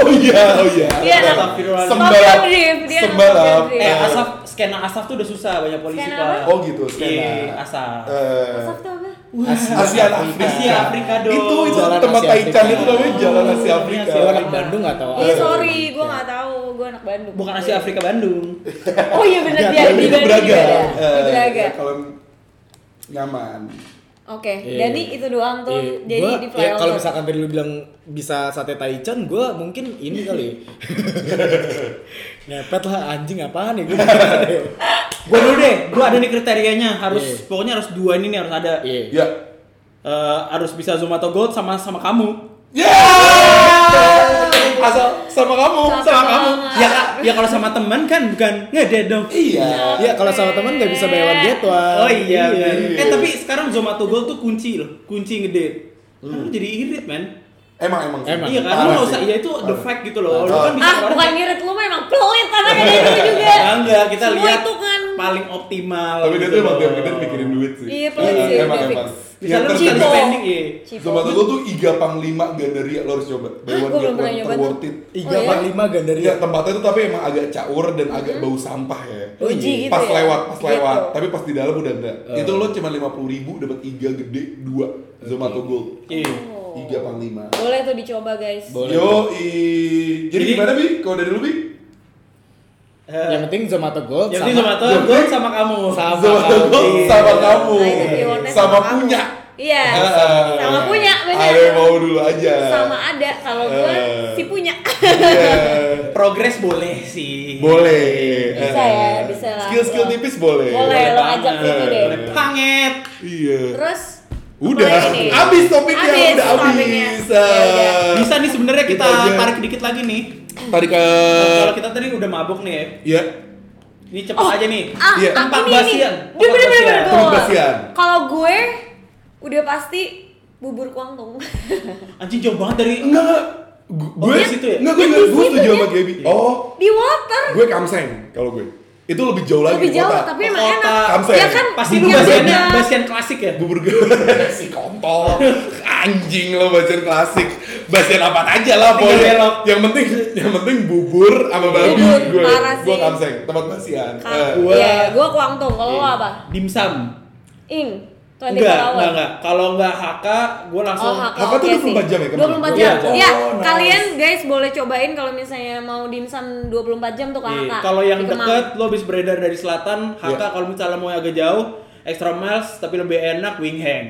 *laughs* oh iya, oh iya Dia anak Astagfirullah. Sem- Sembalap Tokyo Drift, dia anak Sembalap Tokyo Drift. Eh, Asaf skena Asaf tuh udah susah banyak polisi, Skena Pak. apa? Oh gitu, Iya, skena Asaf. Eh, Asap tuh apa? Asia Afrika Asia Afrika dong. Itu, itu Jalan tempat Asia Taichan Afrika. itu namanya Jalan Asia Oh, Afrika Asia Lo Afrika. anak Bandung nggak tahu. Iya sorry, gue nggak tahu, gue anak Bandung. Bukan Asia Afrika Bandung. Oh iya benar Nggak, dia tapi di Itu Bandung Braga juga ya? Oh, ada. Di Eh, Braga. ya, Kalau nyaman Oke, Iya. jadi itu doang tuh. Iya, Jadi gua- di ya, flyover. kalau misalkan tadi lu bilang bisa sate taichan, gue mungkin ini kali. *laughs* Ngepet lah anjing apaan ya gue. *laughs* Gua dulu deh, gua ada nih kriterianya harus Iya. pokoknya harus dua ini nih harus ada. Iya. Ya Eh, harus bisa zoom atau gold sama sama kamu. Ya Asal sama kamu Sama kamu. Ya kak, ya kalau sama teman kan bukan ngedate dong. Iya Iya kalau sama teman nggak bisa bayar jadwal. Oh iya, Iya. kan. Eh tapi sekarang Zomato Gold tuh kunci loh, kunci ngedate. Lu jadi irit, men. Emang, emang sih. Emang. Iya kan, lu Hmm. Parah nggak sih. usah, ya itu the Parah. fact gitu loh. Lu Parah. kan bisa ah keluar- bukan ngirit lu memang pelit anaknya dari dulu juga. Ya, enggak, kita Semua lihat itu kan. paling optimal. Tapi dia gitu tuh emang loh. tiap menit mikirin duit sih Iya, pelit Eh, sih, Emang, emang dia fix. Bisa lu Yang bisa terjadi. terjadi spending ya. Cipo. Sama tuh tuh Iga Panglima Gandaria lo harus coba Buy one Hah, gua get belum pernah one, nyoba ter tuh. worth it Tiga Oh, iya? per lima gandaria. Iya tempatnya tuh tapi emang agak caur dan agak bau sampah ya. Uji gitu pas ya? lewat, pas Gitu. lewat. Tapi pas di dalam udah enggak. Eh. Itu lo cuma lima puluh ribu dapat iga gede dua Zomato Gold. Iya. Oh. Iga pang lima. Boleh tuh dicoba guys. Boleh. Yo i. Jadi Jadi- gimana bi? Kalau dari lu bi? Eh, Yang penting Zomato Gold. Yang sama- penting Zomato Gold sama kamu. Sama. Zomato kamu. Gold sama kamu, Nah, itu keywordnya sama kamu. *laughs* punya. Iya. Ah. Sama punya benar. Ada yang mau dulu aja. Sama ada kalau gue Eh. si punya. *laughs* Iya. Progres boleh sih. Boleh. Bisa ya, bisa lah. Skill-skill tipis boleh. Boleh lo ajak banget. situ deh. Boleh panget. Iya. Terus Udah, apa lagi nih? habis topiknya, Habis udah topiknya. habis. Ya udah. Bisa nih sebenarnya kita Gitu aja. Eh. tarik dikit lagi nih. Tarik ke Kalau kita tadi udah mabuk nih ya. ya. Ini cepat aja nih. Ah, Iya. ah, Tempat ini, basian. Ini. Dia Tempat bener bener basian. bener, Tempat betul. basian. Kalau gue udah pasti bubur kuangtung. Anjing jauh banget dari Iya. Enggak, enggak. Gu- Oh, Gue di situ ya? Iya. Enggak, gue enggak, Yang gue di situ setuju ya? sama Gaby. Oh, *laughs* Di water. gue kamseng kalau gue. Itu lebih jauh lagi Lebih di jauh kota. tapi emang Kota. enak. Kamsen. Ya kan pasti lu yang basiannya beda. basian klasik ya. Bubur goreng *laughs* si kontol. Anjing lo bacaan klasik. Bacaan apa aja lah Tinggal pokoknya. belok. Yang penting yang penting bubur sama babi Bubur, gue. parah Gue sih. kamseng, tempat basian. Iya. Ka- Eh, Gua- Iya, gue kuangtung. Kalau lo Oh, apa? Dimsum. Ing. 24 Enggak, hour. enggak, enggak. Kalau enggak HK, gue langsung Oh, Haka, Haka tuh oke 24 sih. jam ya, kemarin? 24 Iya, jam. jam. Iya, Oh, nice. kalian guys boleh cobain kalau misalnya mau dimsum 24 jam tuh ke Iya, Haka. Kalau yang di Kemang. deket, lo habis beredar dari selatan, HK Iya. kalau misalnya mau yang agak jauh, extra miles tapi lebih enak wing hang.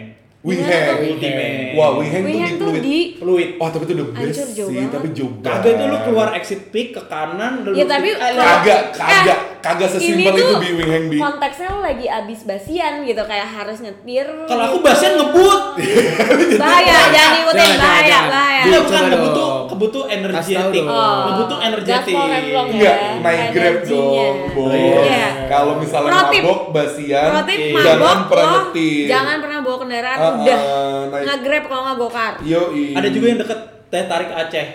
Wing Gimana Hang. tuh? Ultimate. Wah, Wing Hang Wing Hang tuh tuh di di Fluid. Wah, tapi itu the best Hancur jauh sih, banget. tapi jauh banget. Kagak itu lo keluar exit peak ke kanan, lo Iya, tapi Eh, kalau- Kagak, kagak, Eh, kagak sesimpel itu biwing hang bi. konteksnya lo lagi abis basian gitu kayak harus nyetir Kalau aku bahasnya ngebut. *laughs* Iya. bahaya jangan ikutin Jangan, bahaya jangan, bahaya jangan. Iya, bukan Coba ngebut dong. tuh, ngebut tuh energetik. dong. Oh, Ngebut tuh energetik. Gaspol and block ya. Enggak, naik grab Energinya. dong, bos. Iya. Kalau misalnya Rotip. mabok, basian, eh, Rotip Iya. jangan mabok pernah lo nyetir. jangan pernah bawa kendaraan Ah, ah, udah naik. nge-grab kalau nggak gokar Yoi. Ada juga yang deket teh tarik Aceh.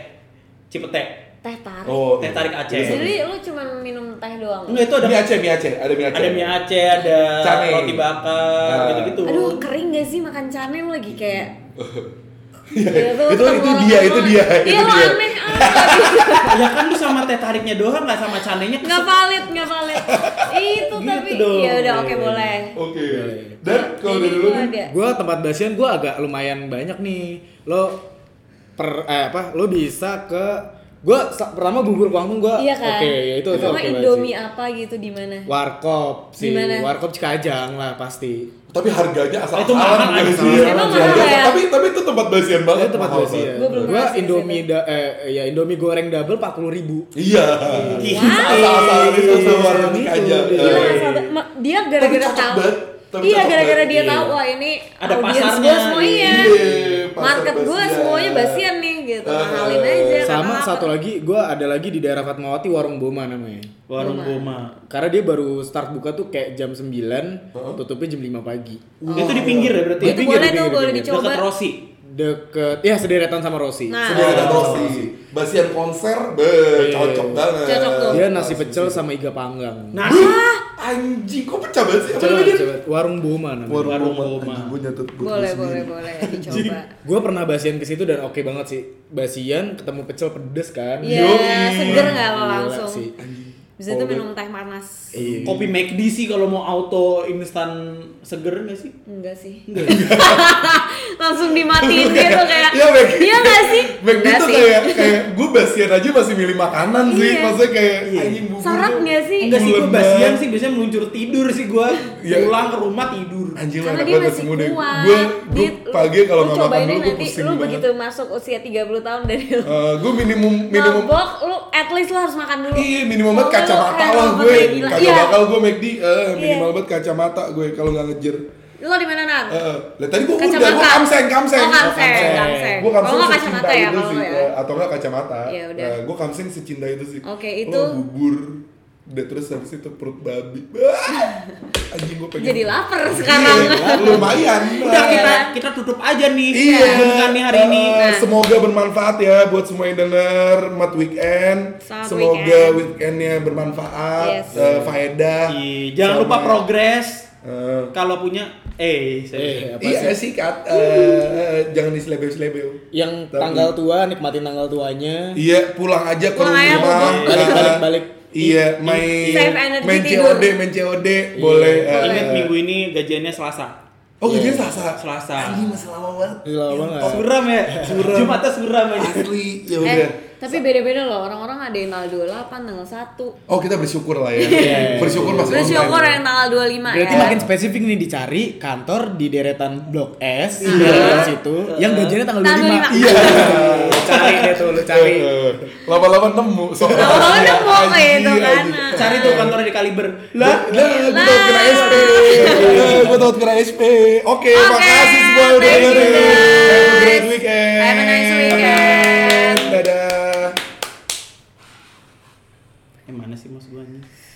Cipete. teh tarik Oh, Teh tarik Aceh. Iya. jadi lu cuma minum teh doang Enggak itu ada Mie Aceh, mie Aceh, ada mie Aceh. ada mie Aceh, ada Cane. roti bakar, Ah. gitu-gitu. aduh kering gak sih makan cane lu lagi kayak *laughs* Iya, Gitu, itu- itu ketemu dia, orang itu orang. dia, itu Iya lo dia. aneh ah. *laughs* ya kan lu sama teh tariknya doang nggak sama canenya nggak valid nggak valid Gitu itu tapi dong. ya udah oke boleh Oke. Iya. Dan kalau dari lu kan ada Gue tempat basian gue agak lumayan banyak nih. Lo per eh, apa? Lo bisa ke gue pertama bubur Kuangtung gue iya kan oke ya itu itu sama oke banget indomie sih. apa gitu di mana warkop Di sih mana? warkop Cikajang lah pasti tapi harganya asal Itu mahal, bukan asal- sih. Emang mahal Iya, ya? Tapi tapi itu tempat basian banget. itu tempat mahal basian banget. Gua belum gue ngerasa sih indomie itu. da- eh, ya indomie goreng double 40.000 ribu Iya. *laughs* Iya. Asal-asalan Iya, itu asal warung Gitu, aja. gitu. Gila, Eh, Iya. sahabat. Ma- dia gara-gara cocok tahu. banget. Tapi Iya, cocok gara-gara banget. dia Iya. tahu wah ini Ada audiens pasarnya. gue semuanya. Iya, pasar Market gue basian. semuanya basian nih gitu. Eh, Mahalin aja. sama karena satu lapar. lagi gue ada lagi di daerah Fatmawati warung Boma namanya warung Boma. karena dia baru start buka tuh kayak jam 9 tutupnya jam 5 pagi Itu di pinggir ya berarti. Iya, ya? Itu pinggir, boleh tuh, pinggir, boleh pinggir. dicoba. Deket Rossi. deket ya sederetan sama Rossi Nah. Sendiri ada Oh. Rossi. Basian konser, be, cocok banget. Cocok tuh. dia Nah, nasi pecel sama iga panggang Nah, Buh, anjing kok pecah banget sih? Apa coba namanya? coba warung Boma namanya Warung Boma. Gue nyatet perut gua boleh, sendiri. boleh, boleh dicoba. gue pernah basian ke situ dan oke banget sih basian ketemu pecel pedes kan Iya, Yoi. seger nggak lo Gila langsung? sih. Bisa tuh Kalau minum teh panas. Iya. Kopi McD sih kalau mau auto instan seger nggak sih? Enggak sih. *laughs* langsung dimatiin gitu kayak. Iya, Meg. Iya nggak *laughs* sih? McD Nggak tuh sih. kayak kayak gue basian aja masih milih makanan sih. Iya. Maksudnya kayak Iya. anjing bubur. Syarat tuh. nggak sih? Enggak sih, gue Bulan basian banget. sih biasanya meluncur tidur sih gue Iya. Oh, Pulang ke rumah tidur Anjing Karena enak dia banget masih semua deh. kuat. Gue gue Dia- lu- pagi kalau lu nggak makan cobain dulu deh gue nanti pusing lu banget. begitu masuk usia 30 tahun dari *laughs* lu. gue *laughs* minimum minimum mabok, lu at least lu harus makan dulu. Iya minimal banget Kalau kacamata lu- lah aduh, gue kayak gila. Kagak Iya. bakal gue McD eh, Minimal Iya. banget kacamata gue kalau nggak ngejer Lo di mana Nan? Eh, eh. Lah tadi gue udah gue Kacamata. kamseng kamseng Oh, kamseng, Gua kamseng. Gue kamseng Oh, nggak secinta kacamata ya, itu kalau sih ya. eh, Atau nggak kacamata Iya, udah. Gue kamseng secinta itu sih Oke, Oh, itu. bubur Udah terus habis itu perut babi Ah, Anjing gue pengen Jadi lapar sekarang. Iya, Lumayan Udah kita, Iya. kita tutup aja nih gitu ya? Iya. Bukan nih hari ini Eh, Nah. Semoga bermanfaat ya buat semua yang denger Mat Weekend. Selamat semoga weekend. weekendnya bermanfaat, Yes. eh, faedah. Iya, Jangan lupa Sama- progres Eh, Kalau punya Eh, saya Eh, apa iya sih? sih Kat. Eh, eh, jangan diselebeu-selebeu. yang Tapi- tanggal tua nikmatin tanggal tuanya Iya, pulang aja ke Pulang aja, rumah. bubur. Balik, eh, balik, balik. Iya, Save main energy main tidur. Iya. COD, main COD Iya. boleh. eh, Ingat minggu ini gajiannya Selasa Oh, gajian Selasa. Selasa. Anjing masih lama banget. Iya. Gila banget. Suram ya? Suram Jumatnya suram aja *laughs* Asli, ya eh, udah. tapi beda-beda loh. Orang-orang ada yang tanggal 28, tanggal 1. Oh, kita bersyukur lah Iya, ya. bersyukur masih online. Bersyukur yang tanggal 25 Berarti ya. makin spesifik nih dicari kantor di deretan Blok S, di daerah situ, yang gajinya tanggal Tanggal 25. 25. Iya. cari deh tuh lu cari. Eh, Lama-lama nemu soalnya. Lama-lama nemu, kayak itu Iya, kan. iya. Cari tuh kantornya di Kaliber Lah, Lah lah, gue Lah. takut kena SP. Gue takut kena SP. Oke, Oke, makasih semua udah thank you, dengerin. Have a great guys. weekend. Have a nice weekend. Dadah. Eh mana sih mas gue anjing?